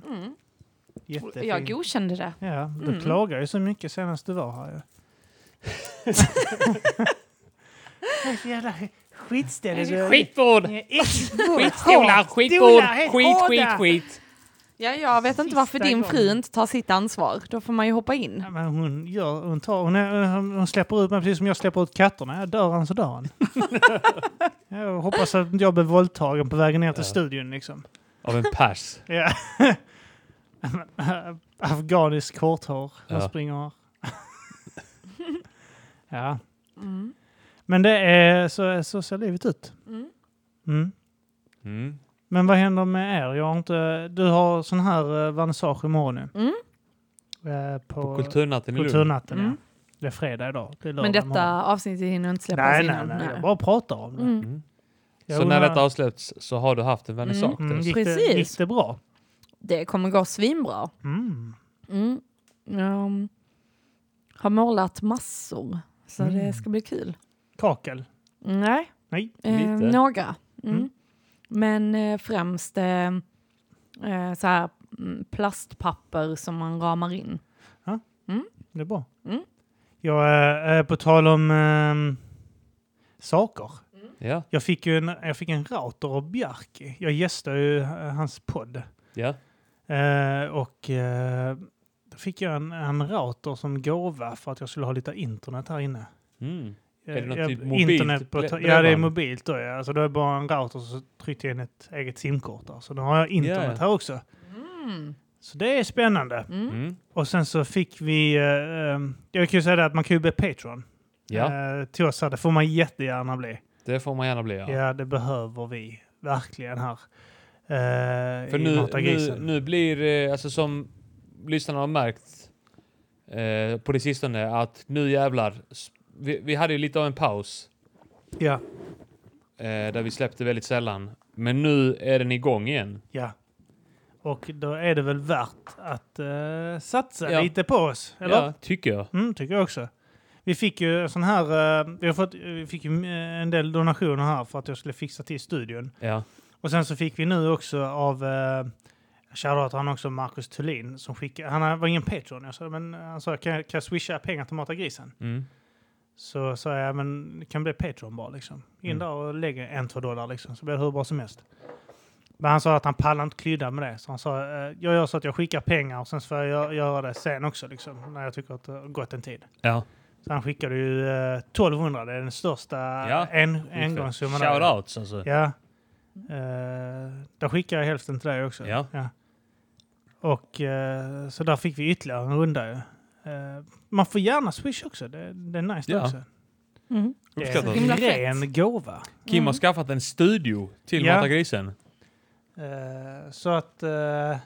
Och Jättefint. Jag godkände det. Ja, du Mm. klagade ju så mycket senast du var här ju. Det är så jävla skitställe. Skitbord! Skitstolar, skitbord, skit, skit, skit. Ja, jag vet inte Sista varför din fru gången. inte tar sitt ansvar. Då får man ju hoppa in. Ja, men hon, gör, hon, tar, hon, är, hon- hon släpper ut mig precis som jag släpper ut katterna. Jag dör han så dör han. jag hoppas att inte jag blir våldtagen på vägen ner till Ja. studion. Liksom. Av en pers. Ja. Afghanisk korthår. Han Ja. springer här. ja. Mm. Men det är, så, så ser livet ut. Mm. Mm. Mm. Men vad händer med er? Jag har inte, du har sån här eh, vernissage imorgon nu. Mm. Eh, på, På kulturnatten i Lund. Kulturnatten, Mm. ja. Det är fredag idag. Det är lördag Men imorgon. detta avsnittet hinner inte släppas Nej, nej, innan. nej, Jag bara pratar om det. Mm. Mm. Jag Så när undrar- detta avsluts så har du haft en vernissage. Mm, Therese. gick, det, Precis. gick det bra? Det kommer gå svinbra. Mm. Mm. Jag har målat massor, så Mm. det ska bli kul. Kakel? Nej, Nej. eh, Lite. några. Mm. Mm. Men eh, främst eh, eh, så här, mm, plastpapper som man ramar in. Det är bra. Mm. Jag, eh, eh, på tal om ehm, saker. Ja, Jag fick ju en, jag fick en router av Bjarki. Jag gästade ju eh, hans podd. ja. Eh, och eh, då fick jag en, en router som gåva för att jag skulle ha lite internet här inne. Mm. Eh, Är det något jag- typ mobilt internet på, bre- ta- ja, det är bredband? mobilt då. Ja. Alltså, då är det bara en router och så tryckte jag in ett eget simkort där. Så nu har jag internet Ja, ja. här också. Mm. Så det är spännande. Mm. Mm. Och sen så fick vi... eh, ehm, jag kan ju säga det att man kan ju bli Patreon. Ja, Eh, till oss här. Det får man jättegärna bli. det får man gärna bli. Ja, Ja. det behöver vi verkligen här. Eh, För i nu, Mata nu, Grisen. nu blir, eh, alltså som lyssnarna har märkt eh, på det sistone, att nu jävlar. s- Vi, vi hade ju lite av en paus Ja, eh, där vi släppte väldigt sällan. Men nu är den igång igen. ja. Och då är det väl värt att eh, satsa Ja. lite på oss, eller? Ja, tycker jag. Mm, tycker jag också. Vi fick ju en sån här... eh, vi, har fått, vi fick ju eh, en del donationer här för att jag skulle fixa till studion. Ja. Och sen så fick vi nu också av... Eh, Shoutout han också, Marcus Thulin, som skickade... Han var ingen Patreon. Jag sa, men han sa, kan, jag- kan jag swisha pengar till Mata Grisen? Mm. Så sa jag, men det kan bli Patreon bara liksom. In Mm. där och lägg en, två dollar liksom, så blir det hur bra som helst. Men han sa att han pallar inte klydda med det. Så han sa, eh, jag gör så att jag skickar pengar och sen så får jag gö- göra det sen också liksom, när jag tycker att det har gått en tid. Ja. Så han skickade ju eh, 1200, det är den största Ja, en, engångssumman. där. Shoutouts alltså. Ja. Eh, där skickade jag hälften till dig också. Ja. Och eh, så där fick vi ytterligare en runda ju. Eh, man får gärna swish också, det, det är nice det Ja. också. Mm. Det Uppskattat. är Himla en fett. ren gåva. Kim har skaffat en studio till Mm. Ja. Mata Grisen. Eh, så att... eh,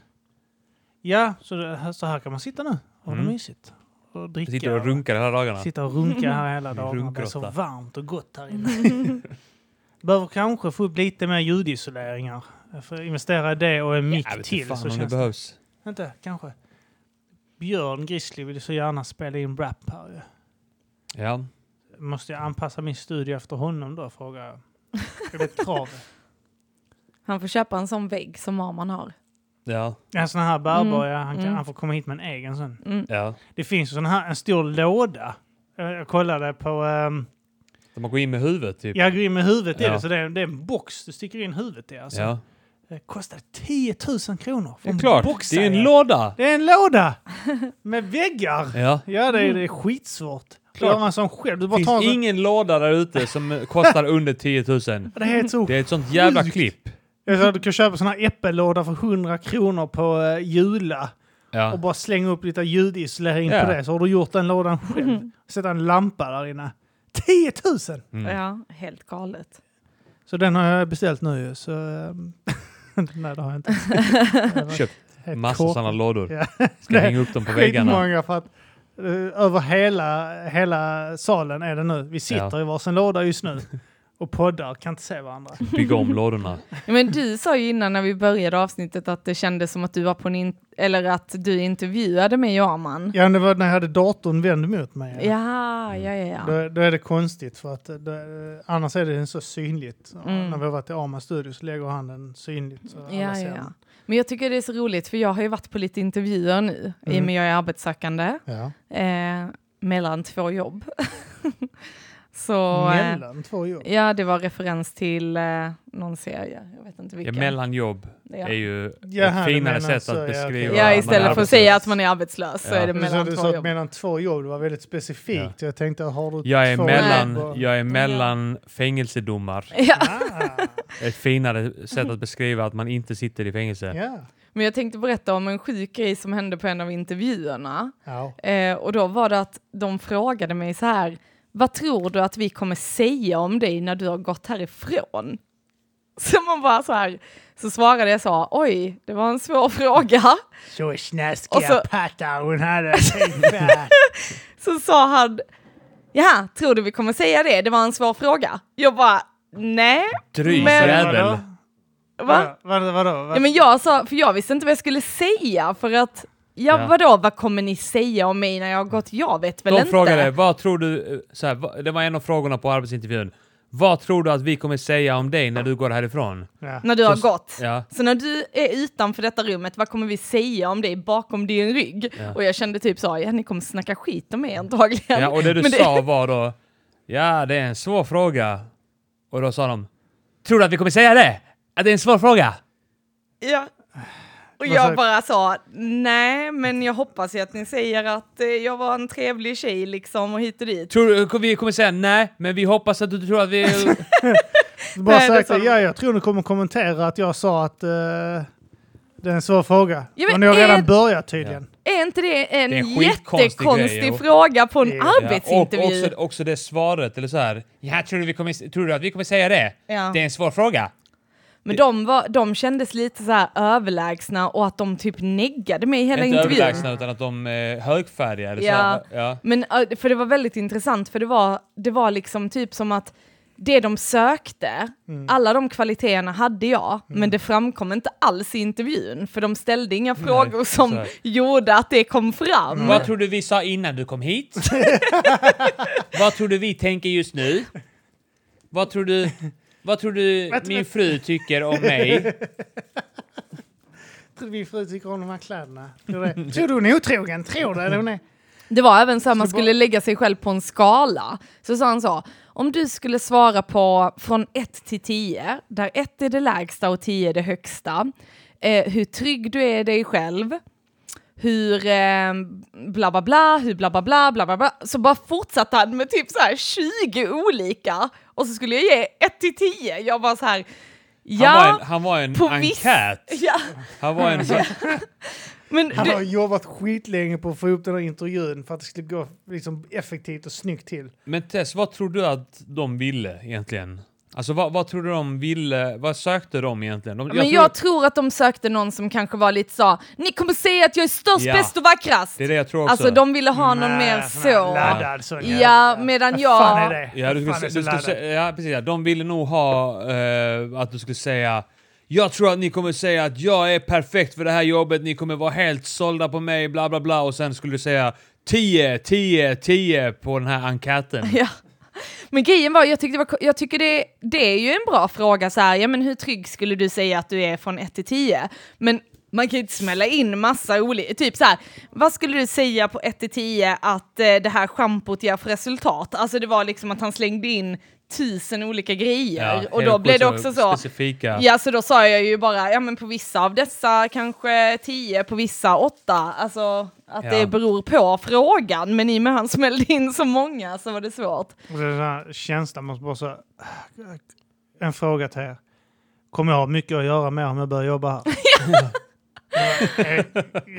ja, så, det, så här kan man sitta nu. Har det Mm. mysigt. Och Jag dricka. sitter och runkar hela dagarna. sitta och runka här hela dagen. Det är Runkrotta. så varmt och gott här inne. Behöver kanske få upp lite mer ljudisoleringar. För investera i det och en mick jag vet inte till fan så om det känns det. behövs. Inte, kanske. Björn Grizzly vill ju så gärna spela in rap här ju. Ja. Måste jag anpassa min studio efter honom då, frågar jag. Är det ett krav? Han får köpa en sån vägg som Arman har. Ja. En sån här bärbar, Mm, ja, han, kan, mm. han får komma hit med en egen sen. Mm. Ja. Det finns ju sån här, en stor låda. Eh, Jag, jag kollade på... Um, De har gått in med huvudet typ. jag går in med huvudet i Ja. det, så det är, det är en box du sticker in huvudet i. Alltså. Ja. Det kostar 10 000 kronor. för Det är en klart. box, det är en säger jag. låda! Det är en låda! Med väggar! Ja. Ja, det Mm. är, det är skitsvårt. Att Klart. göra en sån själv. Du Det bara tar en finns sån- ingen låda där ute som kostar under 10 000. Det är helt så... Det är ett sånt jävla Sjukt. klipp. Jag sa, du kan köpa sån här äppellåda för 100 kronor på eh, Jula. Ja. och bara slänga upp lite ljudisolering Ja. på det så har du gjort den lådan själv. Sätta en lampa där inne. 10 000! mm. Ja, helt galet. Så den har jag beställt nu ju, så... ehm, Nej, det har jag inte. Det var Köpt helt Massa kort. sådana lådor. Ja. Ska hänga upp dem på väggarna. Skitmånga för att eh, över hela, hela salen är det nu. Vi sitter Ja. i varsin låda just nu och poddar kan inte se varandra. Bygga om lådorna. Ja, Men du sa ju innan när vi började avsnittet att det kändes som att du var på en in- eller att du intervjuade mig och Aman. Ja, men det var när jag hade datorn vänd mot mig. Ja, Mm. ja, ja. ja. Då, då är det konstigt för att eh, då, annars är det så synligt. Ja, Mm. När vi har varit i Amas studio så lägger han den synligt. Så alla Ja, ser ja, ja. den. Men jag tycker det är så roligt för jag har ju varit på lite intervjuer nu i Mm. och med jag är arbetssökande ja. eh, mellan två jobb. så, eh, Mellan två jobb. ja, det var referens till eh, någon serie, jag vet inte Ja, vilken. mellanjobb Ja. är ju Jaha, ett du finare menar sätt så, ja, att okej. beskriva. man Ja, är istället för att säga att man är arbetslös så Ja. är det Du sa, mellan du två sa att jobb. mellan två jobb, det var väldigt specifikt. Jag tänkte, har du Jag är två mellan, jobb? jag är mellan fängelsedomar. Ja. Ah, Ett finare sätt att beskriva att man inte sitter i fängelse. ja. Men jag tänkte berätta om en sjuk grej som hände på en av intervjuerna. ja. Eh, och då var det att de frågade mig så här, vad tror du att vi kommer säga om dig när du har gått härifrån? Så man bara så här, så svarade jag så, oj, det var en svår fråga. Så Och snaskiga så- pattar hon hade. ungefär. Så sa han, ja, tror du vi kommer säga det? Det var en svår fråga. Jag bara, nej, Dryg Men- jävel. va? Vadå? Vadå? vadå? Ja, men jag sa, för jag visste inte vad jag skulle säga för att, ja, Ja. vadå, vad kommer ni säga om mig när jag har gått? Jag vet väl De inte. frågade, vad tror du, eh, så här, va- det var en av frågorna på arbetsintervjun. Vad tror du att vi kommer säga om dig när du går härifrån? Ja. När du har gått. Ja. Så när du är utanför detta rummet, vad kommer vi säga om dig bakom din rygg? Ja. Och jag kände typ så, ja ni kommer snacka skit om mig antagligen. ja, och det du Men sa var då, ja det är en svår fråga. Och då sa de, tror du att vi kommer säga det? Att det är en svår fråga? Ja. Och Vad sa- jag bara sa, nej men jag hoppas ju att ni säger att eh, jag var en trevlig tjej liksom och hit och dit. Tror du, vi kommer säga nej, men vi hoppas att du tror att vi... Bara Nej, det sagt, sa de. ja, jag tror ni kommer kommentera att jag sa att eh, det är en svår fråga. Ja, men och ni har är- redan börjat tydligen. Är inte det en, Det är en skitkonstig jättekonstig grej, jo. fråga på en Ja, och arbetsintervju? också, också det svaret, eller så här. Ja, tror, du vi kommer, tror du att vi kommer säga det? Ja. Det är en svår fråga. Men de, var, de kändes lite så här överlägna och att de typ neggade mig hela inte intervjun. överlägsna, utan att de är högfärdiga. Eller Ja. Så, ja. Men eh, för det var väldigt intressant för det var, det var liksom typ som att det de sökte, alla de kvaliteterna hade jag, men det framkom inte alls i intervjun för de ställde inga frågor som exakt. gjorde att det kom fram. Vad tror du vi sa innan du kom hit? vad tror du vi tänker just nu? Vad tror du, vad tror du min fru tycker om mig? Tror du min fru tycker om de här kläderna? Tror, du det? tror du hon är otrogen? Tror du det? Hon är... Det var även så här, man skulle lägga sig själv på en skala. Så sa han så, om du skulle svara på från 1 till 10, där 1 är det lägsta och 10 är det högsta, eh, hur trygg du är i dig själv, hur eh, bla bla bla, hur bla bla bla, bla bla bla. Så bara fortsatte han med typ så här 20 olika och så skulle jag ge 1 till 10. Jag bara så här, ja, Han var en, han var en på viss... enkät. Ja, Han var en... men Han du, har jobbat skitlänge på att få ihop den här intervjun för att det skulle gå liksom, effektivt och snyggt till. Men Tess, vad tror du att de ville egentligen? Alltså vad, vad tror du de ville? Vad sökte de egentligen? De, men tror- jag tror att de sökte någon som kanske var lite så, ni kommer säga att jag är störst, Ja. bäst och vackrast. det är det jag tror också. Alltså de ville ha någon mer Nej, sån här så. Laddad sån Ja, medan Vad fan är jag... det? Ja, du Vad fan skulle, är du så skulle, laddad? sä- ja, precis. Ja. De ville nog ha eh, att du skulle säga jag tror att ni kommer säga att jag är perfekt för det här jobbet, ni kommer vara helt sålda på mig, bla bla bla. Och sen skulle du säga 10, 10, 10 på den här enkäten. Ja. Men grejen var, jag, tyckte det var, jag tycker det, det är ju en bra fråga så här, ja men hur trygg skulle du säga att du är från 1 till 10? Men man kan ju inte smälla in massa olika, typ så här, vad skulle du säga på 1 till 10 att eh, det här schampot ger för resultat? Alltså det var liksom att han slängde in tusen olika grejer och då helt blev det sjukt också så, Specifika. Ja, så då sa jag ju bara, ja men på vissa av dessa kanske 10, på vissa 8. Alltså att Ja. det beror på frågan, men i och med han smällde in så många så var det svårt. Och Den här känslan måste bara så... En fråga till er. Kommer jag ha mycket att göra med om jag börjar jobba här? Eh,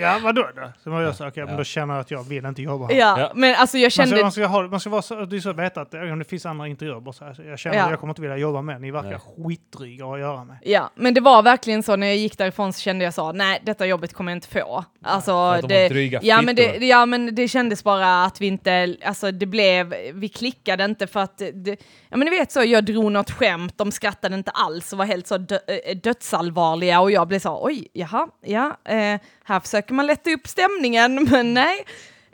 ja, vadå då? Så man gör så, okej, men då känner jag att jag vill inte jobba här. Ja, Ja. men alltså jag Man ska, kände... man, ska ha, man ska vara så, det är så att veta att eh, om det finns andra intervjuer, bara så här, så jag känner Ja. att jag kommer inte vilja jobba med, ni verkar Nej. skitdryga att göra med. Ja, men det var verkligen så när jag gick därifrån så kände jag så, nej detta jobbet kommer jag inte få. Alltså, att de har det, dryga ja, men det, fittor. ja men det kändes bara att vi inte, alltså det blev, vi klickade inte för att, det, ja men ni vet så, jag drog något skämt, de skrattade inte alls och var helt så dö, eh, dödsallvarliga och jag blev så, oj, jaha, ja, eh, här försöker man lätta upp stämningen, men nej.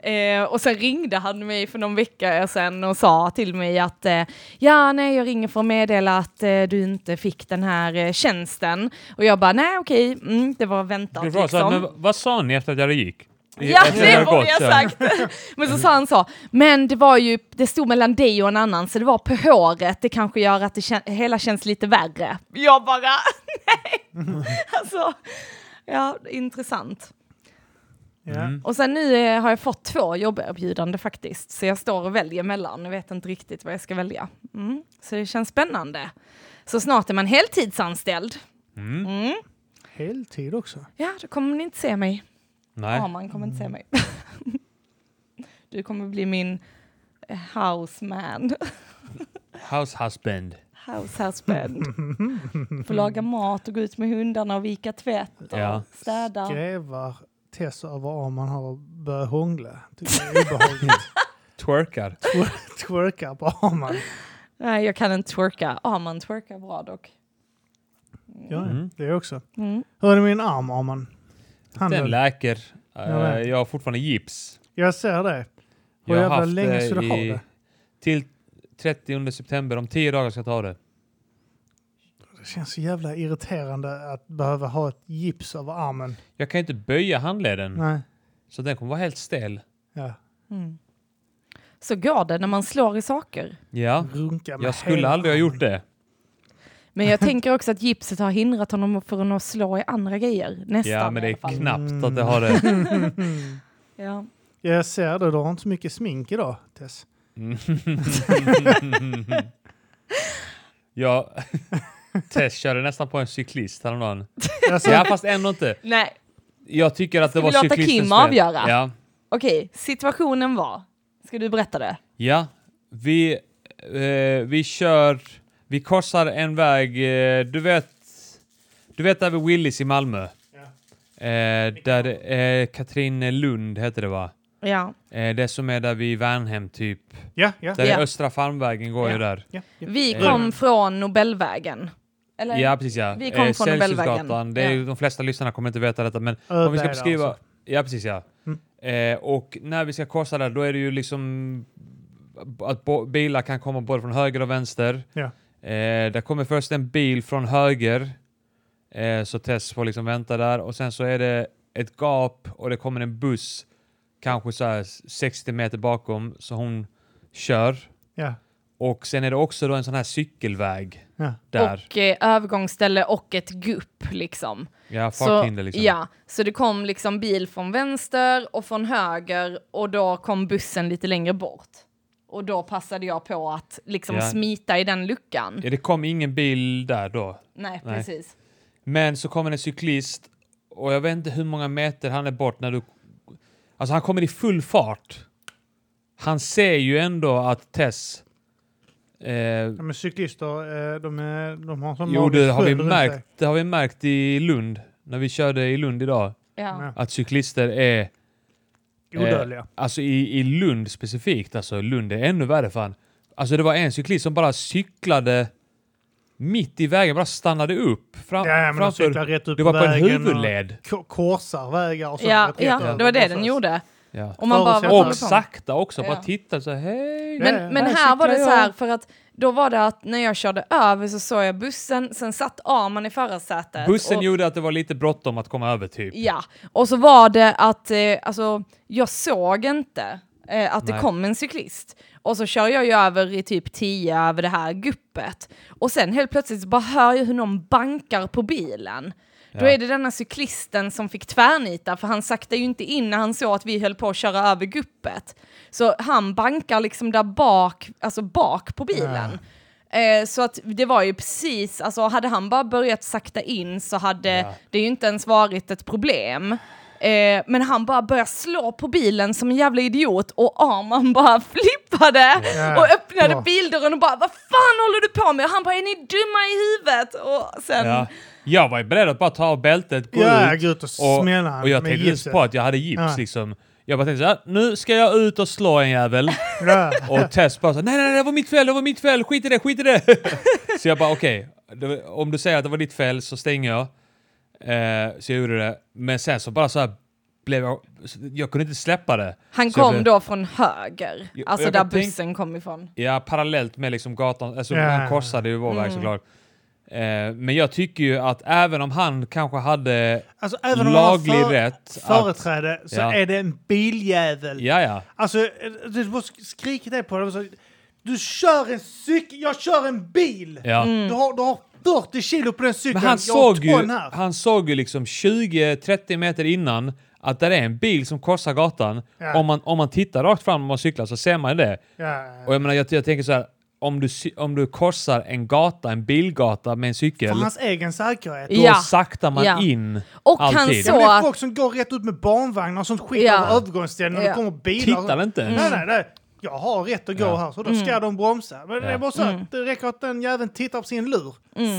Eh, och sen ringde han mig för någon vecka sedan och sa till mig att eh, ja, nej, jag ringer för att meddela att eh, du inte fick den här eh, tjänsten. Och jag bara, nej, okej, mm, det var väntat. Det var så här, liksom. men v- vad sa ni efter att jag gick? I- Ja, efter att det jag borde gått, jag så här. sagt. Men så sa han så, men det var ju, det stod mellan dig och en annan, så det var på håret, det kanske gör att det kän- hela känns lite värre. Jag bara, nej. Alltså, ja, intressant. Ja. Och sen nu eh, har jag fått två jobberbjudande faktiskt, så jag står och väljer mellan, jag vet inte riktigt vad jag ska välja. Mm. Så det känns spännande. Så snart är man heltidsanställd. Heltid också. Ja, då kommer ni inte se mig. Nej. Mm. Arman kommer inte se mig. Du kommer bli min eh, houseman, House husband. house husband. Får laga mat och gå ut med hundarna och vika tvätt och Ja. städa. Grävar Tess över om man har börjat hångla. Tycker det är obehagligt. Twerkar. Twer- Twerkar på Arman. Nej, jag kan inte twerka. Arman twerkar bra dock. Ja, Mm. det också. Mm. Hur är det med din arm Arman? Den Handen. läker. Eh, Jag vet. jag har fortfarande gips. Jag ser det. Hur Jag har jävla haft länge det ska du ha det? Till 30 september, om 10 dagar ska jag ta det. Det känns så jävla irriterande att behöva ha ett gips över armen. Jag kan ju inte böja handleden, Nej. så den kommer vara helt stel. Ja. Mm. Så går det när man slår i saker. Ja, Runka med jag skulle hela aldrig ha armen. gjort det. Men jag tänker också att gipset har hindrat honom från att slå i andra grejer. Nästan Ja, men det i alla är fall. knappt att det har det. Ja. Ja, jag ser det. Du har inte så mycket smink idag, Tess. Jag Tess körde nästan på en cyklist häromdagen. Alltså, Ja, fast ändå inte. Nej, Jag tycker att det Ska var vi låta cyklistens Kim fel. avgöra? Ja. okej. Situationen var, ska du berätta det? Ja, vi, eh, vi kör, vi korsar en väg, eh, du vet, du vet där vid Willys i Malmö? Eh, där det är Katrin Lund heter det va? Ja. Eh, det som är där vid Värnhem typ. ja, ja. Där Ja. är Östra Farmvägen går ju där. ja, ja. Vi Eh. kom från Nobelvägen. Eller? Ja, precis ja. Eh, Vi kom från Celsiusgatan. Nobelvägen. Det är, ju- Ja. De flesta lyssnarna kommer inte veta detta, men om vi Öberg ska beskriva... alltså. Mm. Ja, precis ja. Eh, och när vi ska korsa där, då är det ju liksom att bo- bilar kan komma både från höger och vänster. Ja. Eh, där kommer först en bil från höger, eh, så Tess får liksom vänta där. Och sen så är det ett gap och det kommer en buss, kanske så här 60 meter bakom, så hon kör. ja, Och sen är det också då en sån här cykelväg ja. där. Och eh, övergångsställe och ett gupp liksom. ja, så, farthinder liksom. Ja, så det kom liksom bil från vänster och från höger och då kom bussen lite längre bort. Och då passade jag på att liksom Ja. smita i den luckan. Ja, det kom ingen bil där då. Nej, Nej. precis. Men så kommer en cyklist och jag vet inte hur många meter han är bort när du... Alltså han kommer i full fart. Han ser ju ändå att Tess... Eh, Ja, men cyklister, eh, de, är, de har som jo, det har, vi sköld runt sig. märkt, det har vi märkt i Lund, när vi körde i Lund idag, Ja. Ja. att cyklister är... Odödliga. alltså i, i Lund specifikt, alltså Lund är ännu värre fan. Alltså det var en cyklist som bara cyklade mitt i vägen, bara stannade upp fram, Ja, ja, men de framför... cyklar rätt upp det var på en vägen och huvudled. ko- korsar vägar och så. Ja, rätt ja, över. det var det Och den så- gjorde. Ja. Och man bara, Och vad Och håller du på med? sakta också, Ja. bara titta så här, hej. Ja, ja. Men, men Här här var det cyklar så här, jag. för att då var det att när jag körde över så såg jag bussen, sen satt Arman i förarsätet. Bussen och, gjorde att det var lite bråttom att komma över typ. Ja, och så var det att eh, alltså, jag såg inte eh, att det Nej. kom en cyklist. Och så kör jag ju över i typ 10 över det här guppet. Och sen helt plötsligt så bara hör jag hur någon bankar på bilen. Då Ja. är det denna cyklisten som fick tvärnita för han saktade ju inte in när han såg att vi höll på att köra över Ah. guppet. Så han bankar liksom där bak, alltså bak på bilen. Eh, så att det var ju precis, alltså hade han bara börjat sakta in så hade det ju inte ens varit ett problem. Eh, men han bara började slå på bilen som en jävla idiot och Arman bara flippade Ja. och öppnade Ja. bildörren och bara vad fan håller du på med? Och han bara är ni dumma i huvudet? Och sen, Ja. Jag var ju beredd att bara ta av bältet, gå Ja, ut gå ut och och, smälla han och jag med tänkte inte gipset. på att jag hade gips Ja. liksom. Jag bara tänkte såhär, nu ska jag ut och slå en jävel. Ja. Och Tess bara så, nej, nej, nej, det var mitt fel, det var mitt fel, skit i det, skit i det. så jag bara, okej, det- om du säger att det var ditt fel så stänger jag. Eh, så jag gjorde det. Men sen så bara så här blev jag, jag kunde inte släppa det. han Så jag kom blev- då från höger, Jag- alltså jag där kan tänk- bussen kom ifrån. Ja, parallellt med liksom gatan, alltså Ja. han korsade ju vår väg såklart. Eh, men jag tycker ju att även om han kanske hade Alltså, även om laglig man har för- rätt att- företräde så Ja. är det en biljävel. Ja, ja. Alltså, eh, du måste skrika det på dem. Så, du kör en cykel, jag kör en bil! ja. Mm. Du, har, du har 40 kilo på den cykeln, Men han jag har såg, ju, ton här. han såg ju liksom 20-30 meter innan att där är en bil som korsar gatan. Ja. Om, man, om man tittar rakt fram när man cyklar så ser man det. Ja, Och jag menar, jag, jag tänker så här, om du, cy- om du korsar en gata, en bilgata med en cykel, för hans egen säkerhet. då Ja. saktar man Ja. in Och han alltid. Ja, men det är Så- folk som går rätt ut med barnvagnar och sånt skit Ja. över övergångsställen och Ja. det kommer bilar. Tittar inte ens. Nej, nej, nej. Jag har rätt att gå Ja. här, så då ska Mm. de bromsa. Men det är Ja. bara så att det räcker att den jäveln tittar på sin lur.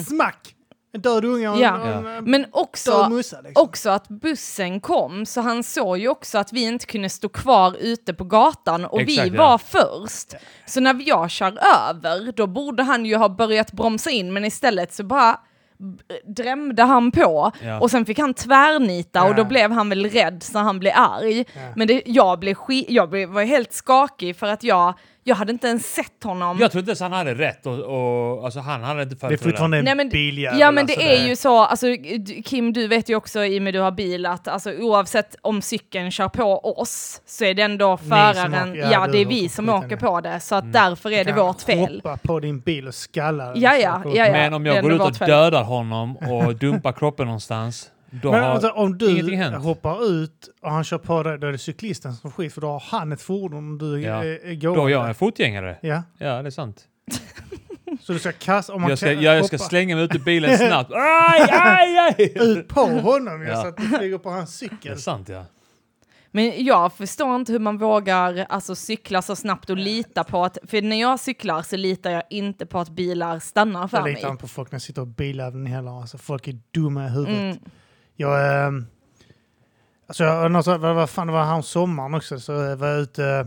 Smack! En död unge och en, Mm. Ja. och en, eh, Men död också, mussa. Liksom. också att bussen kom, så han såg ju också att vi inte kunde stå kvar ute på gatan och Exakt, vi ja. var först. Så när jag kör över, då borde han ju ha börjat bromsa in, men istället så bara b- drämde han på Ja. och sen fick han tvärnita och då Ja. blev han väl rädd så han blev arg. Men det, jag, blev ski- jag blev, var helt skakig för att jag, jag hade inte ens sett honom. Jag tror inte ens han hade rätt och, och alltså han hade inte det är företräde. fortfarande en Nej, men, biljävel. Ja men det alltså, är ju så, alltså, du- Kim du vet ju också i och med du har bil att alltså, oavsett om cykeln kör på oss så är det ändå föraren, åker- ja, ja, det är du vi åker som skiten, åker ja. Mm. på det så att därför är det Kan vårt fel. Hoppa på din bil och skalla den. Ja, ja, Så- ja, ja. Men om det jag är går ändå ut och vårt fel. dödar honom och dumpar kroppen någonstans, då Men har alltså, om du ingenting hänt. hoppar ut och han kör på dig, då är det cyklisten som skit för då har han ett fordon och du Ja. ja. Då går. är jag en fotgängare. Ja, Ja, det är sant. så du ska kasta... Om han Jag ska, kan- jag, jag ska hoppa slänga mig ut ur bilen snabbt. Aj, aj, aj! ut på honom ja. Ja. så att du flyger på hans Det är cykel. sant ja. Men jag förstår inte hur man vågar alltså, cykla så snabbt och lita på att, för när jag cyklar så litar jag inte på att bilar stannar för Jag mig. litar inte på folk när jag sitter och bilar den heller. Alltså, folk är dumma i huvudet. Mm. Jag... ehm, alltså, jag, något, så- vad, vad fan, det var här sommaren också, så jag var jag ute... eh,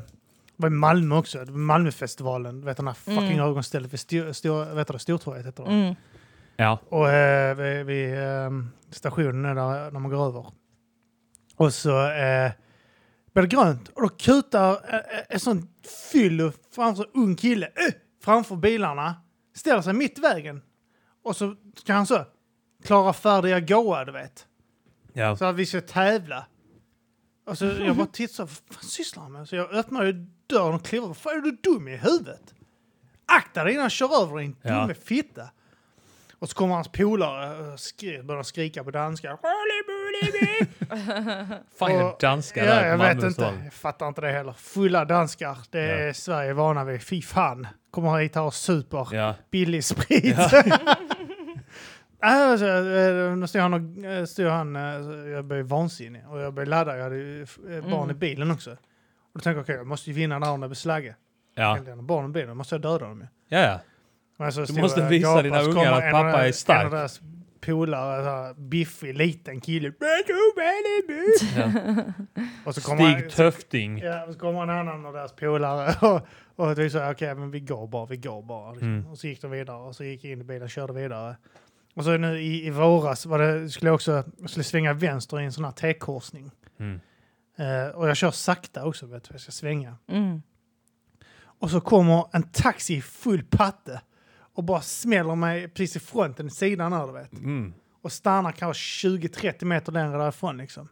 var i Malmö också, Malmöfestivalen. Du vet den här fucking Mm. ögonstället vid Stor- Stor- vet du det, Stortorget heter det. va? Mm. Ja. Och eh, vid, vid ehm, stationen är där, när man går över. Och så eh, blir det grönt och då kutar eh, eh, en sån fyllo framför ung kille eh, framför bilarna, ställer sig mitt i vägen. Och så ska han så, klara färdiga goa du vet. ja. Så att vi ska tävla. Och så jag bara tittar, så här, vad fan sysslar han med? Så jag öppnar ju dörren och kliver, vad fan är du dum i huvudet? Akta dig innan jag kör över din Ja. dumme fitta. Och så kommer hans polare och skri- börjar skrika på danska. Fan är det Och- ja, danska där på jag vet Malmö inte. stad? Jag fattar inte det heller. Fulla danskar, det är Sverige vana vid. Fy fan. Kommer hit här och super Ja. billig sprit. alltså, eh, då stod han och eh, stod han, eh, jag blev vansinnig och jag blev laddad. Jag hade ju eh, barn i bilen också. Och då tänkte jag, okej, jag måste ju vinna det här när det blir slagge. Ja. Ja. Barn i bilen, då måste jag döda dem ju. Ja, ja. Men så stod måste jag och visa gapade, dina så ungar kommer att en pappa av deras- är stark. En av deras polare, så här biffig liten kille. Och så kommer Stig Töfting. Ja, och så kommer en annan av deras polare och, och vi sa okej, men vi går bara, vi går bara. Liksom. Mm. Och så gick de vidare och så gick jag in i bilen och körde vidare. Och så nu i, i våras var det, skulle jag också jag skulle svänga vänster i en sån här T-korsning. Mm. Eh, och jag kör sakta också, vet du, jag ska svänga. Mm. Och så kommer en taxi i full patte och bara smäller mig precis i fronten, i sidan här, du vet Mm. och stannar kanske 20-30 meter längre därifrån. Liksom.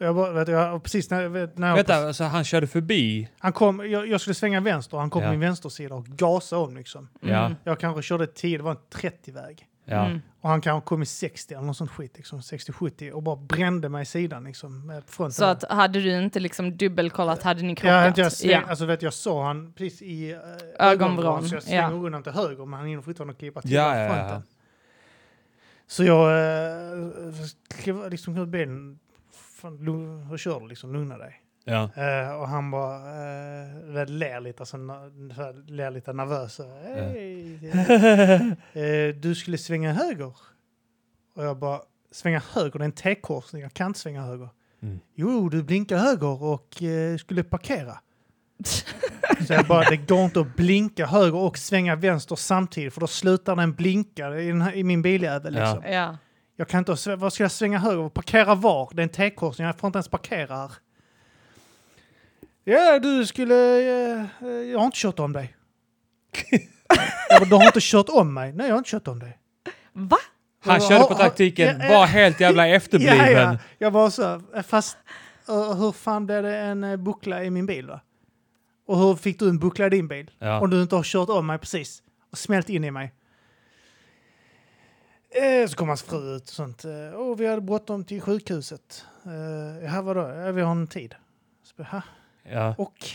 Och jag bara, vet, du, jag, och precis när, vet- när jag, Vänta, alltså, han körde förbi. han kom, jag, jag skulle svänga vänster och han kom Ja. på min vänstersida och gasade om. Liksom. Ja. Jag kanske körde 10, det var en 30-väg. Ja. Mm. Och han kanske kom i 60 eller något sånt skit, liksom, 60-70 och bara brände mig i sidan liksom, med fronten. Så att hade du inte liksom dubbelkollat hade ni Ja, krockat? jag, jag, alltså, vet, jag såg han precis i eh, Ögonvrån, så jag ja. slänger undan till höger men han hinner fortfarande klippa till Ja, med ja, ja. fronten. Så jag eh, klev liksom ut benen. Fan, lugn- Hur kör du liksom? Lugna dig. Ja. Eh, och han bara uh, ler lite, alltså, na- så här, ler lite nervös. så här, Ja. "Hej." Eh, du skulle svänga höger. Och jag bara, svänga höger? Det är en T-korsning, jag kan inte svänga höger. Mm. Jo, du blinkar höger och eh, skulle parkera. Så jag bara, det går inte att blinka höger och svänga vänster samtidigt för då slutar den blinka i, den här, i min biljävel. Ja. Liksom. ja. Jag kan inte, svä- vad ska jag svänga höger och parkera var? Det är en T-korsning, jag får inte ens parkera här. Ja, du skulle... eh, eh, jag har inte kört om dig. jag bara, du har inte kört om mig? Nej, jag har inte kört om dig. Va? Han körde på taktiken, Ja, ja. var helt jävla efterbliven. Ja, ja. Jag var så, här, fast eh, hur fan blev det en eh, buckla i min bil va? Och hur fick du en buckla i din bil? Ja. Om du inte har kört om mig precis och smält in i mig. Eh, så kom hans fru ut och sånt. Eh, och vi hade bråttom till sjukhuset. Eh, här vadå? Ja, vi har en tid. Så, bara, "Ha?" Ja. och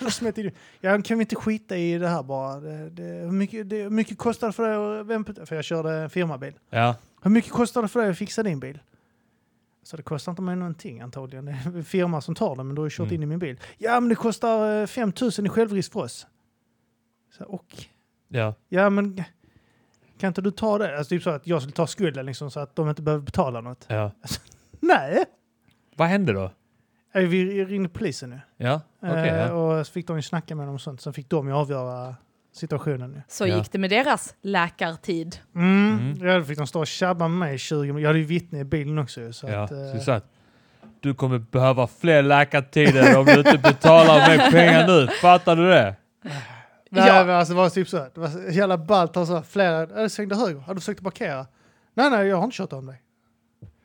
då smet in. Ja, kan vi inte skita i det här bara? Det, det, hur, mycket, det, hur mycket kostar det för dig att... vem- För jag körde en firmabil. Ja. Hur mycket kostar det för dig att fixa din bil? Så det kostar inte mig någonting antagligen. Det är en firma som tar den, men du har ju kört Mm. in i min bil. Ja, men det kostar eh, 5 000 i självrisk för oss. Så, och? Ja. Ja, men kan inte du ta det? Alltså typ så att jag skulle ta skulden liksom så att de inte behöver betala något. ja. Nej! Vad hände då? Eh, Vi ringde polisen nu. Ja, okej. Eh, ja. Och så fick de ju snacka med dem och sånt. Sen fick de ju avgöra situationen nu. Så Ja. gick det med deras läkartid. Mm. Mm. Ja, då fick de stå och tjabba med mig i 20 minuter. Jag hade ju vittne i bilen också ju, så ja. att, eh, Så så att, du kommer behöva fler läkartider om du inte betalar mer pengar nu. Fattar du det? Nej, Ja. men alltså det var typ så. här, Det var så jävla ballt. Han sa flera, "Ja, du svängde höger, har du försökt att parkera? Nej, nej, jag har inte kört om dig.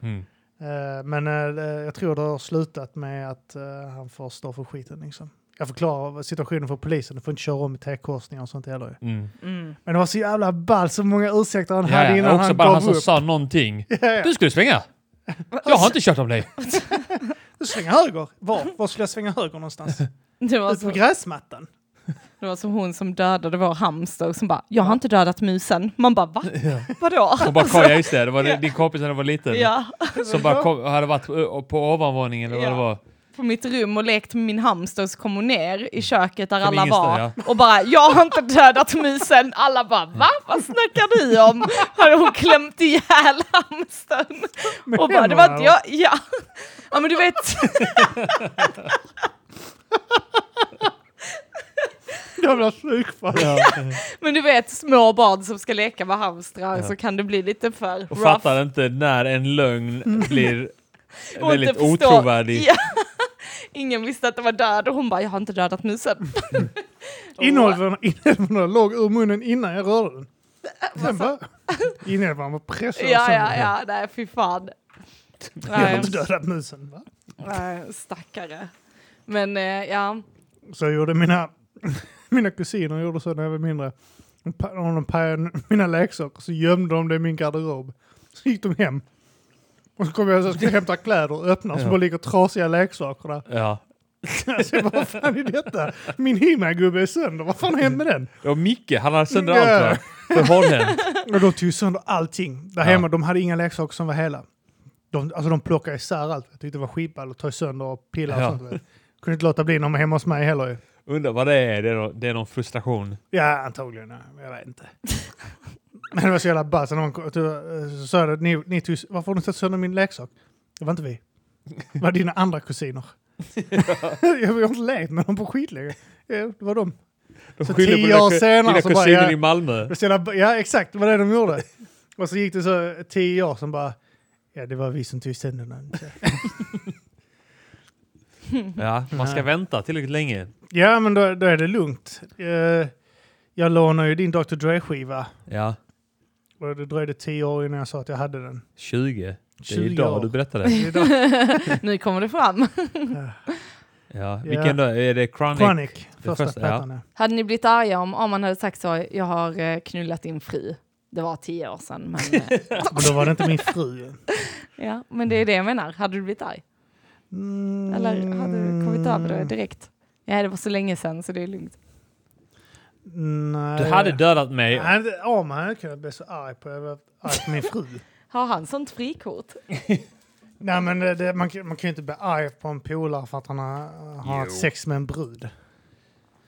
Mm. Eh, men eh, jag tror det har slutat med att eh, han får stå för skiten liksom. Jag förklarar vad situationen för polisen, du får inte köra om i T-korsningar och sånt heller ju. Mm. Mm. Men det var så jävla ballt, så många ursäkter han Ja, hade ja. innan Också han bara gav han som upp. sa någonting. Ja, ja. Du skulle svänga. Jag har inte kört om dig. Du svänger höger. Var? Var skulle jag svänga höger någonstans? Det, var Ut på Alltså- som, gräsmattan. det var som hon som dödade vår hamster som bara, jag har inte dödat musen. Man bara, va? Vadå? Och bara, "Kolla, just det, det var din kompis när du var liten. Ja, Som bara kom, hade varit ö- på ovanvåningen eller vad det Ja. var. på mitt rum och lekt med min hamster så kom hon ner i köket där Från alla var ingenstans, och bara jag har inte dödat musen. Alla bara va? Vad snackar du om? Hade hon klämt ihjäl hamstern? Med Och bara det var inte händerna, jag. Ja, ja men du vet. Jävla slukfall. Men du vet små barn som ska leka med hamstrar Ja. så kan det bli lite för Och rough. fattar inte när en Mm. lögn blir Och inte väldigt förstå- otrovärdig. Ja. Ingen visste att det var död och hon bara jag har inte dödat musen. Inälvorna inälvorna låg ur munnen innan jag rörde den. Sen bara... Inälvorna var pressade Äh, alltså- Ja, ja, sönder. ja, nej fy fan. Jag har Nej. inte dödat musen. Va? Nej, stackare. Men eh, ja, Så jag gjorde mina, mina kusiner gjorde så när jag var mindre. De pa- Om de pajade mina leksaker så gömde de det i min garderob. Så gick de hem. Och så kom jag och skulle hämta kläder och öppna så Ja. bara ligger trasiga leksaker där. Ja. Alltså, jag bara, vad fan är detta? Min He-Man-gubbe är sönder, vad fan har hänt med den? Och Micke, han hade sönder Ja. allt va? För honom. Och de tog sönder allting. Där Ja. hemma, de hade inga leksaker som var hela. De, alltså de plockade isär allt. Jag tyckte det var skitball och ta sönder och pilla och Ja. sånt. vet. Kunde inte låta bli när de var hemma hos mig heller ju. Undrar vad det är, det är, nå- det är någon frustration. Ja, antagligen. ja. Men Jag vet inte. Men det var så jävla ballt. Så någon kom- så sa jag att ni, ni tog, varför har ni tagit sönder min leksak? Det var inte vi. Det var dina andra kusiner. jag har inte lekt med dem på skitlänge. Ja, det var de. De Så skyller på tio dina år ku- senare dina så bara, kusiner ja. Mm. i Malmö. Det var så jävla, ja, exakt. Det var det de gjorde. Och så gick det så tio år som bara... Ja, det var vi som tog sönder den. Ja, man ska Ja. vänta tillräckligt länge. Ja, men då, då är det lugnt. Eh, Jag lånade ju din Dr. Dre-skiva. Ja, Och det dröjde tio år innan jag sa att jag hade den. 20. Det är 20 idag år. du berättade. Det är idag. nu kommer det fram. Ja. Vilken då? Är det Chronic? Chronic, första första, ja. plattan. ja. Hade ni blivit arga om, om man hade sagt så, jag har eh, knullat din fru? Det var tio år sedan, men, eh, Men då var det inte min fru. ja, men det är det jag menar. Hade du blivit arg? Mm. Eller hade du kommit över det direkt? Ja, det var så länge sedan så det är lugnt. Nej. Du hade dödat mig. Jag hade- Ja, man hade kunnat bli så arg på, jag hade varit arg på min fru. Har han sånt frikort? Nej, men det, det, man, kan- man kan ju inte bli arg på en polare för att han har, har haft Jo. sex med en brud.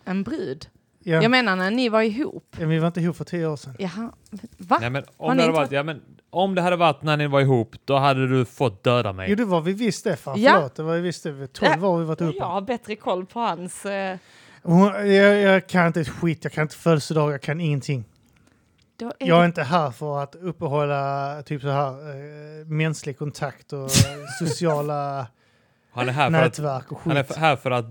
En brud? Ja, Jag menar när ni var ihop. men vi var inte ihop för tio år sedan. Jaha, va? Nej, men Har om, ni det hade inte varit, ja, men, om det hade varit när ni var ihop, då hade du fått döda mig. Jo, det var vi visst det. Fan, Ja. förlåt. Det var vi visst det. Tolv år vi varit ihop. Jag har bättre koll på hans... eh, Hon, jag, jag kan inte ett skit, jag kan inte födelsedagar, jag kan ingenting. Då är Jag är det- inte här för att uppehålla typ så här eh, mänsklig kontakt och eh, sociala Han är här för att, nätverk och han är skit. f- här för att